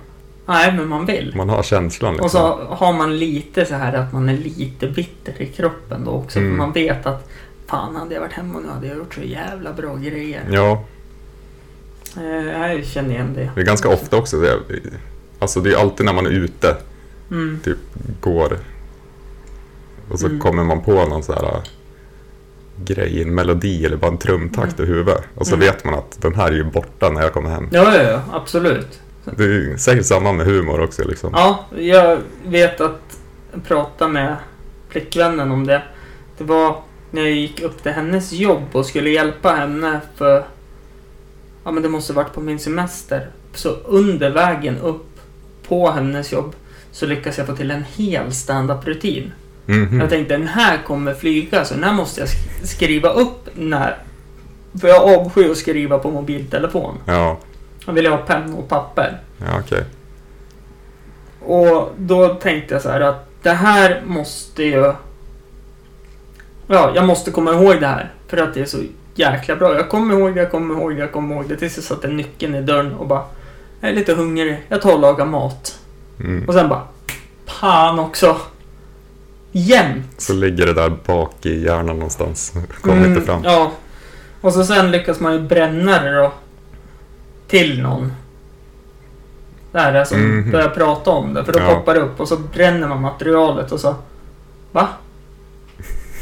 B: Nej, men man vill.
A: man har känslan liksom.
B: Och så har man lite så här att man är lite bitter i kroppen då också.
A: Mm.
B: För man vet att fan hade jag varit hemma nu hade jag gjort så jävla bra grejer.
A: Ja,
B: Eh, jag känner igen det.
A: det är ganska ofta också. Det är, alltså det är alltid när man är ute,
B: Mm.
A: går och så
B: Mm.
A: kommer man på någon så här äh, grej, en melodi eller bara en trumtakt i huvudet. Och så
B: Mm.
A: vet man att den här är ju borta när jag kommer hem.
B: Ja, ja, ja, absolut.
A: Det är ju säkert samma med humor också liksom.
B: Ja, jag vet att jag pratade med flickvännen om det. Det var när jag gick upp till hennes jobb och skulle hjälpa henne för... Ja, men det måste varit på min semester. Så under vägen upp på hennes jobb så lyckas jag få till en hel stand-up rutin.
A: Mhm.
B: Jag tänkte den här kommer flyga så den här måste jag sk- skriva upp när... För jag avskyr att skriva på mobiltelefon.
A: Ja,
B: Jag vill ha penna och papper.
A: ja okej.
B: Och då tänkte jag så här att det här måste ju... Ja, jag måste komma ihåg det här. För att det är så jäkla bra. Jag kommer ihåg det, jag kommer ihåg det, jag kommer ihåg det. Tills jag satte nyckeln i dörren och bara... Jag är lite hungrig, jag tar och lagar mat.
A: Mm.
B: Och sen bara... Pan också! Jämt!
A: Så ligger det där bak i hjärnan någonstans. Kommer
B: Mm,
A: inte fram.
B: Ja. Och så sen lyckas man ju bränna det då. Till någon. Där alltså,
A: Mhm.
B: börjar prata om det. För då
A: Ja.
B: poppar det upp och så bränner man materialet och så... Va?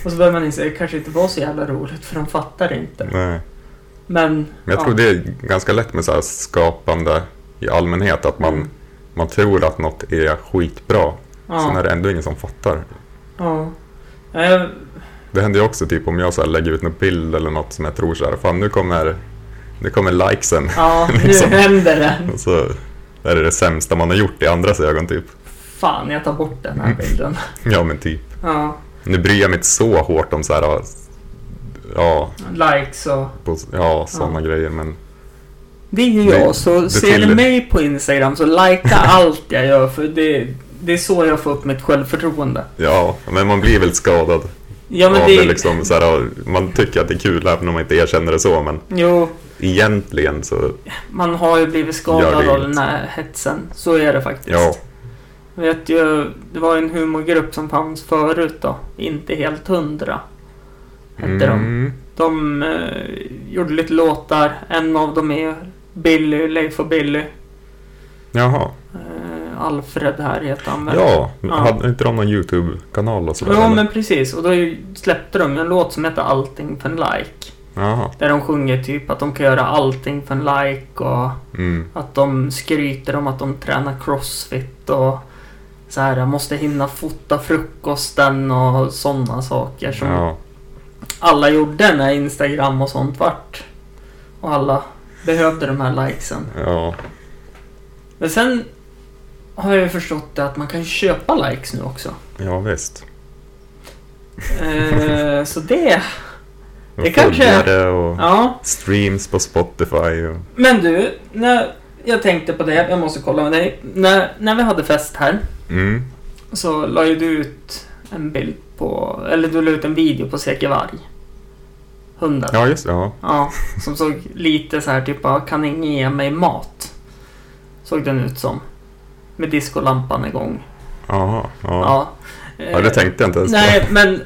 B: Och så börjar man inse att det kanske inte var så jävla roligt för de fattar inte.
A: Nej.
B: Men...
A: Men jag
B: ja.
A: tror det är ganska lätt med så här skapande i allmänhet. Att man,
B: Mm.
A: man tror att något är skitbra. Sen är det ändå ingen som fattar.
B: Ja. ja. Jag,
A: Det händer ju också typ om jag så här lägger ut någon bild eller något som jag tror så här, fan nu kommer, nu kommer likesen.
B: ja,
A: Liksom.
B: nu händer det.
A: Och så är det det sämsta man har gjort i andras ögon typ.
B: Fan, jag tar bort den här
A: Mm.
B: bilden.
A: Ja men typ.
B: Ja.
A: Nu bryr jag mig inte så hårt om så här, ja,
B: Likes och...
A: på, ja sådana grejer men
B: Det är
A: Det-
B: jag, så
A: det
B: ser
A: till-
B: du mig på Instagram så likea allt jag gör för det, det är så jag får upp mitt självförtroende.
A: ja, men man blir väl skadad
B: Ja men
A: av
B: det...
A: det liksom. Så här, man tycker att det är kul även om man inte erkänner det så men
B: Jo,
A: egentligen så,
B: man har ju blivit
A: Gör
B: skadad
A: det
B: av
A: inte.
B: den här hetsen. Så är det faktiskt.
A: ja.
B: Jag vet ju, det var ju en humorgrupp som fanns förut då. Inte helt hundra. Hette de.
A: Mm,
B: De eh, gjorde lite låtar. En av dem är Billy, Leif och Billy.
A: jaha,
B: Eh, Alfred här heter han väl?
A: ja.
B: Ja.
A: Hade inte de någon YouTube-kanal och sådär?
B: Ja
A: eller?
B: men precis, och då släppte de en låt som heter Allting för en like.
A: Jaha,
B: Där de sjunger typ att de kan göra allting för en like och
A: mm.
B: att de skryter om att de tränar crossfit och så här, måste hinna fota frukosten och sådana saker som
A: Ja,
B: alla gjorde när Instagram och sånt vart. Och alla behövde de här likesen.
A: ja.
B: Men sen har jag ju förstått det att man kan köpa likes nu också.
A: ja visst.
B: Eh, så det,
A: Och
B: Det kanske-
A: följare och
B: ja.
A: streams på Spotify och...
B: Men du, när jag tänkte på det, jag måste kolla med dig. När, när vi hade fest här
A: Mm.
B: så la ju du ut en bild på, eller du la ut en video på Säker Varg. Hunden.
A: Ja, just det. Ja.
B: Ja, som såg lite så här typ bara, kan ingen ge mig mat? Såg den ut som. Med diskolampan igång.
A: Aha, ja.
B: Ja.
A: ja, det tänkte jag inte ens på.
B: Nej, men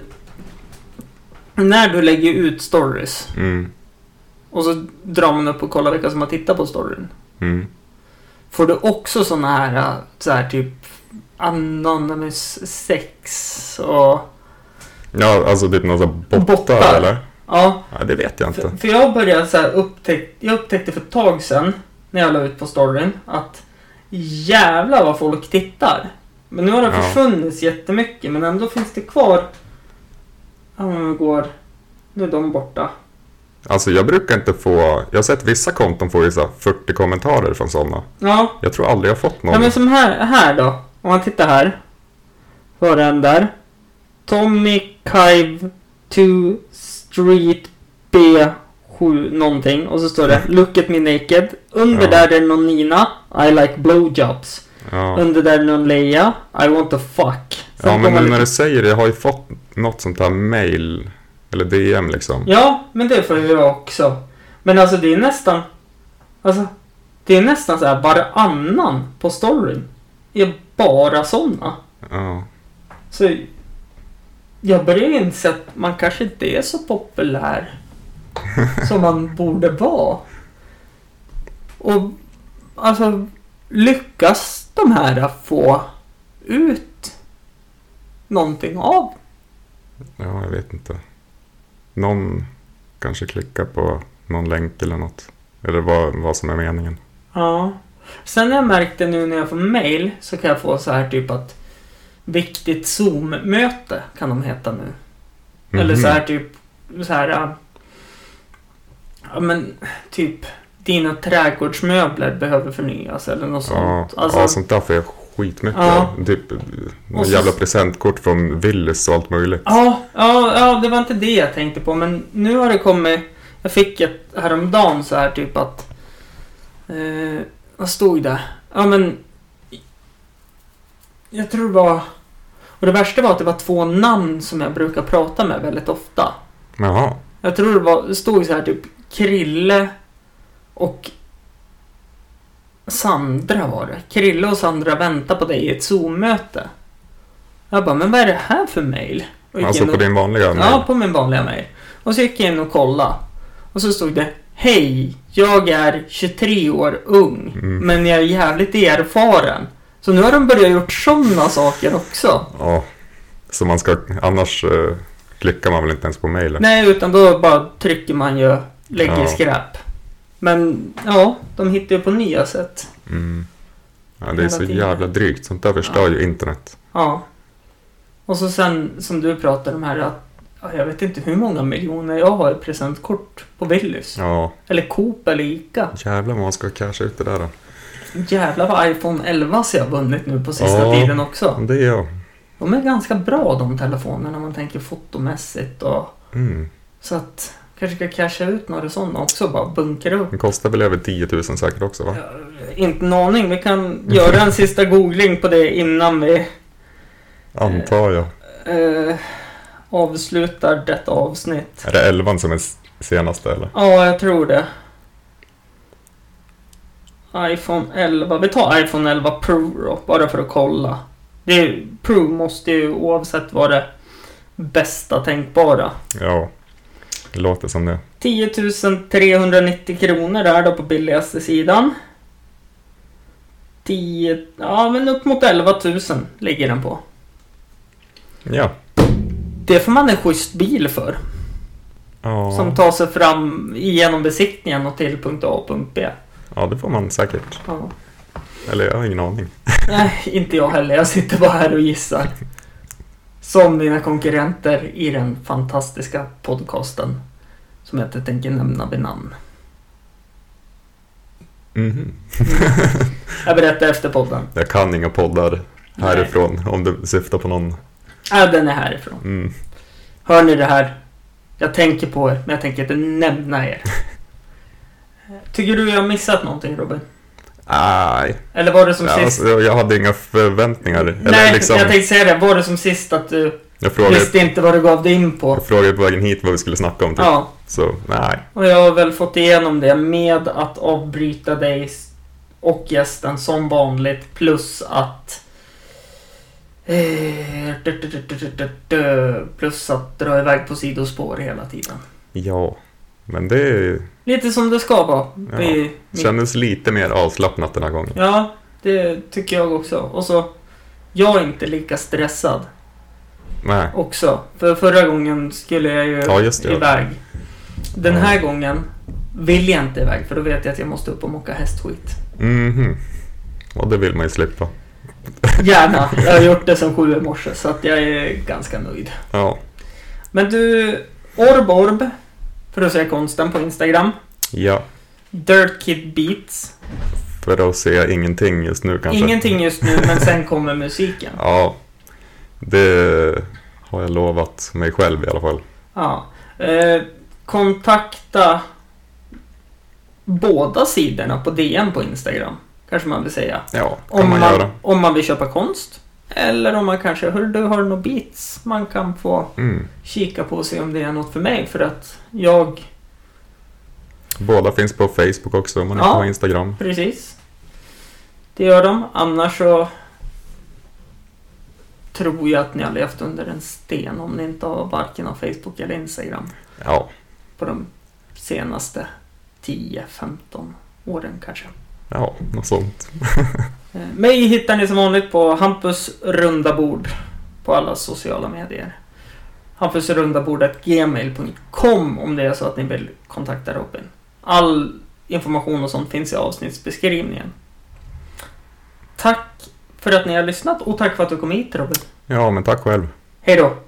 B: när du lägger ut stories
A: Mm.
B: Och så drar man upp och kollar vilka som har tittat på storyn.
A: Mm.
B: Får du också såna här, äh, så här typ Anonymous sex och...
A: Ja, alltså typ någon sån här bottar
B: Bottar.
A: eller?
B: Ja,
A: Ja, det vet jag
B: För,
A: inte.
B: för jag började så här upptäck, jag upptäckte för ett tag sedan när jag la ut på storyn att jävlar vad folk tittar. Men nu har det
A: Ja.
B: försvunnit jättemycket men ändå finns det kvar. Ja men vi går. Nu är de borta.
A: Alltså jag brukar inte få, jag har sett vissa konton få ju så här 40 kommentarer från sådana.
B: Ja,
A: Jag tror aldrig jag har fått någon.
B: ja men som här, här då. Om man tittar här. Var den där. Tommy Kive 2 Street B7 någonting. Och så står det Look at me naked. Under
A: Ja.
B: där är det någon Nina. I like blowjobs.
A: ja.
B: Under där någon Leia. I want to fuck. Sen
A: ja, men nu
B: kommer
A: när
B: lite-
A: du säger det, jag har ju fått något sånt här mail eller DM liksom.
B: Ja, men det får jag också. Men alltså det är nästan... Alltså, det är nästan så här varannan på storyn. Är bara såna.
A: Ja.
B: Så jag börjar inse att man kanske inte är så populär som man borde vara. Och alltså, lyckas de här få ut någonting av
A: Ja, jag vet inte. Någon kanske klickar på någon länk eller något. Eller vad, vad som är meningen.
B: Ja. Sen har jag märkt det nu när jag får mail så kan jag få så här typ att Viktigt Zoom-möte kan de heta nu.
A: Mhm.
B: Eller så här typ så här äh, Ja men typ Dina trädgårdsmöbler behöver förnyas eller något
A: Ja,
B: sånt. Alltså,
A: ja, sånt där får jag skitmycket
B: Ja.
A: av. Typ eh, några
B: så-
A: jävla presentkort från Willys och allt möjligt.
B: Ja, ja, ja, det var inte det jag tänkte på, men nu har det kommit... Jag fick ett häromdagen så här typ att... Eh, vad stod det? Ja, men... Jag tror det var... Och det värsta var att det var två namn som jag brukar prata med väldigt ofta.
A: Jaha.
B: Jag tror det, var, det stod så här typ Krille och Sandra var det. Krille och Sandra väntar på dig i ett Zoom-möte. Jag bara, men vad är det här för mail? Och gick
A: Alltså
B: in
A: på
B: och-
A: din vanliga mail.
B: Ja, på min vanliga mail. Och så gick jag in och kollade. Och så stod det Hej, jag är 23 år ung,
A: Mm.
B: men jag är jävligt erfaren. Så nu har de börjat gjort sådana saker också.
A: Ja. Så man ska, annars eh, klickar man väl inte ens på mailen.
B: Nej, utan då bara trycker man ju lägg i
A: Ja.
B: skräp. Men ja, de hittar ju på nya sätt.
A: Mm. Ja, det är
B: Hela
A: så
B: tiden.
A: jävla drygt. Sånt där förstör ju internet.
B: Ja. Och så sen som du pratade om här att ja, jag vet inte hur många miljoner jag har i presentkort på Willys.
A: Ja,
B: Eller Coop eller Ica.
A: jävlar vad man ska casha ut det där då.
B: Jävlar vad iPhone 11 jag har vunnit nu på sista
A: Ja.
B: tiden också.
A: Det är jag.
B: De är ganska bra de telefonerna om man tänker fotomässigt och
A: Mm.
B: så att kanske ska casha ut några sådana också bara bunkra upp.
A: Den kostar väl över 10 000 säkert också va?
B: Inte en aning, vi kan göra en sista googling på det innan vi
A: Antar jag.
B: eh, avslutar detta avsnitt.
A: Är det 11 som är s- senaste eller?
B: Ja, jag tror det. iPhone 11. Vi tar iPhone 11 Pro då, bara för att kolla. Det är, Pro måste ju oavsett vara det bästa tänkbara.
A: Ja, det låter som det.
B: 10 390 kronor där då på billigaste sidan. 10, ja men upp mot 11 000 ligger den på.
A: Ja.
B: Det får man en schysst bil för.
A: Ja.
B: Som tar sig fram genom besiktningen och till punkt A och punkt B.
A: ja, det får man säkert.
B: Ja.
A: Eller jag har ingen aning.
B: Nej, inte jag heller. Jag sitter bara här och gissar. Som mina konkurrenter i den fantastiska podcasten. Som jag inte tänker nämna vid namn.
A: Mhm.
B: Jag berättar efter podden.
A: Jag kan inga poddar
B: Nej.
A: härifrån om du syftar på någon.
B: Äh, den är härifrån.
A: Mm.
B: Hör ni det här? Jag tänker på er, men jag tänker inte nämna er. Tycker du jag har missat någonting Robin?
A: Nej,
B: Eller var det som sist?
A: alltså, jag hade inga förväntningar.
B: Nej,
A: Eller liksom,
B: jag
A: jag,
B: tänkte säga det. Var det som sist att du
A: frågade,
B: visste inte vad du gav dig in på?
A: jag frågade på vägen hit vad vi skulle snacka om. Typ.
B: Ja,
A: Så nej,
B: Och jag har väl fått igenom det med att avbryta dig och gästen som vanligt plus att... eh, dö, dö, dö, dö, dö, dö, Plus att dra iväg på sidospår hela tiden.
A: ja. Men det är-
B: Lite som det ska vara.
A: Ja.
B: Det är mitt-
A: kändes lite mer avslappnat den här gången.
B: Ja, det tycker jag också. Och så, jag är inte lika stressad
A: Nej,
B: också. För förra gången skulle jag ju
A: Ja, just det.
B: iväg. Den
A: Ja.
B: här gången vill jag inte iväg för då vet jag att jag måste upp och mocka hästskit.
A: mhm. Och det vill man ju slippa.
B: Gärna. Jag har gjort det som sju i morse så att jag är ganska nöjd.
A: Ja,
B: Men du, Orborb, för att säga konsten på Instagram.
A: ja.
B: Dirt Kid Beats.
A: För att se ingenting just nu kanske.
B: Ingenting just nu men sen kommer musiken.
A: Ja, det har jag lovat mig själv i alla fall.
B: Ja. Eh, kontakta båda sidorna på DM på Instagram. Kanske man vill säga.
A: Ja, kan
B: Om
A: man,
B: man,
A: göra.
B: om man vill köpa konst. Eller om man kanske, hör du har du några beats man kan få
A: Mm.
B: kika på och se om det är något för mig. För att jag,
A: Båda finns på Facebook också om man
B: Ja.
A: inte har Instagram.
B: precis. Det gör de. Annars så tror jag att ni har levt under en sten om ni inte har varken har Facebook eller Instagram.
A: Ja,
B: på de senaste 10-15 åren kanske.
A: ja, något sånt.
B: Eh, Mig hittar ni som vanligt på Hampus runda bord på alla sociala medier. Hampusrundabordet.gmail.com om det är så att ni vill kontakta Robin. All information och sånt finns i avsnittsbeskrivningen. Tack för att ni har lyssnat och tack för att du kom hit Robin.
A: Ja, men tack själv.
B: Hej då!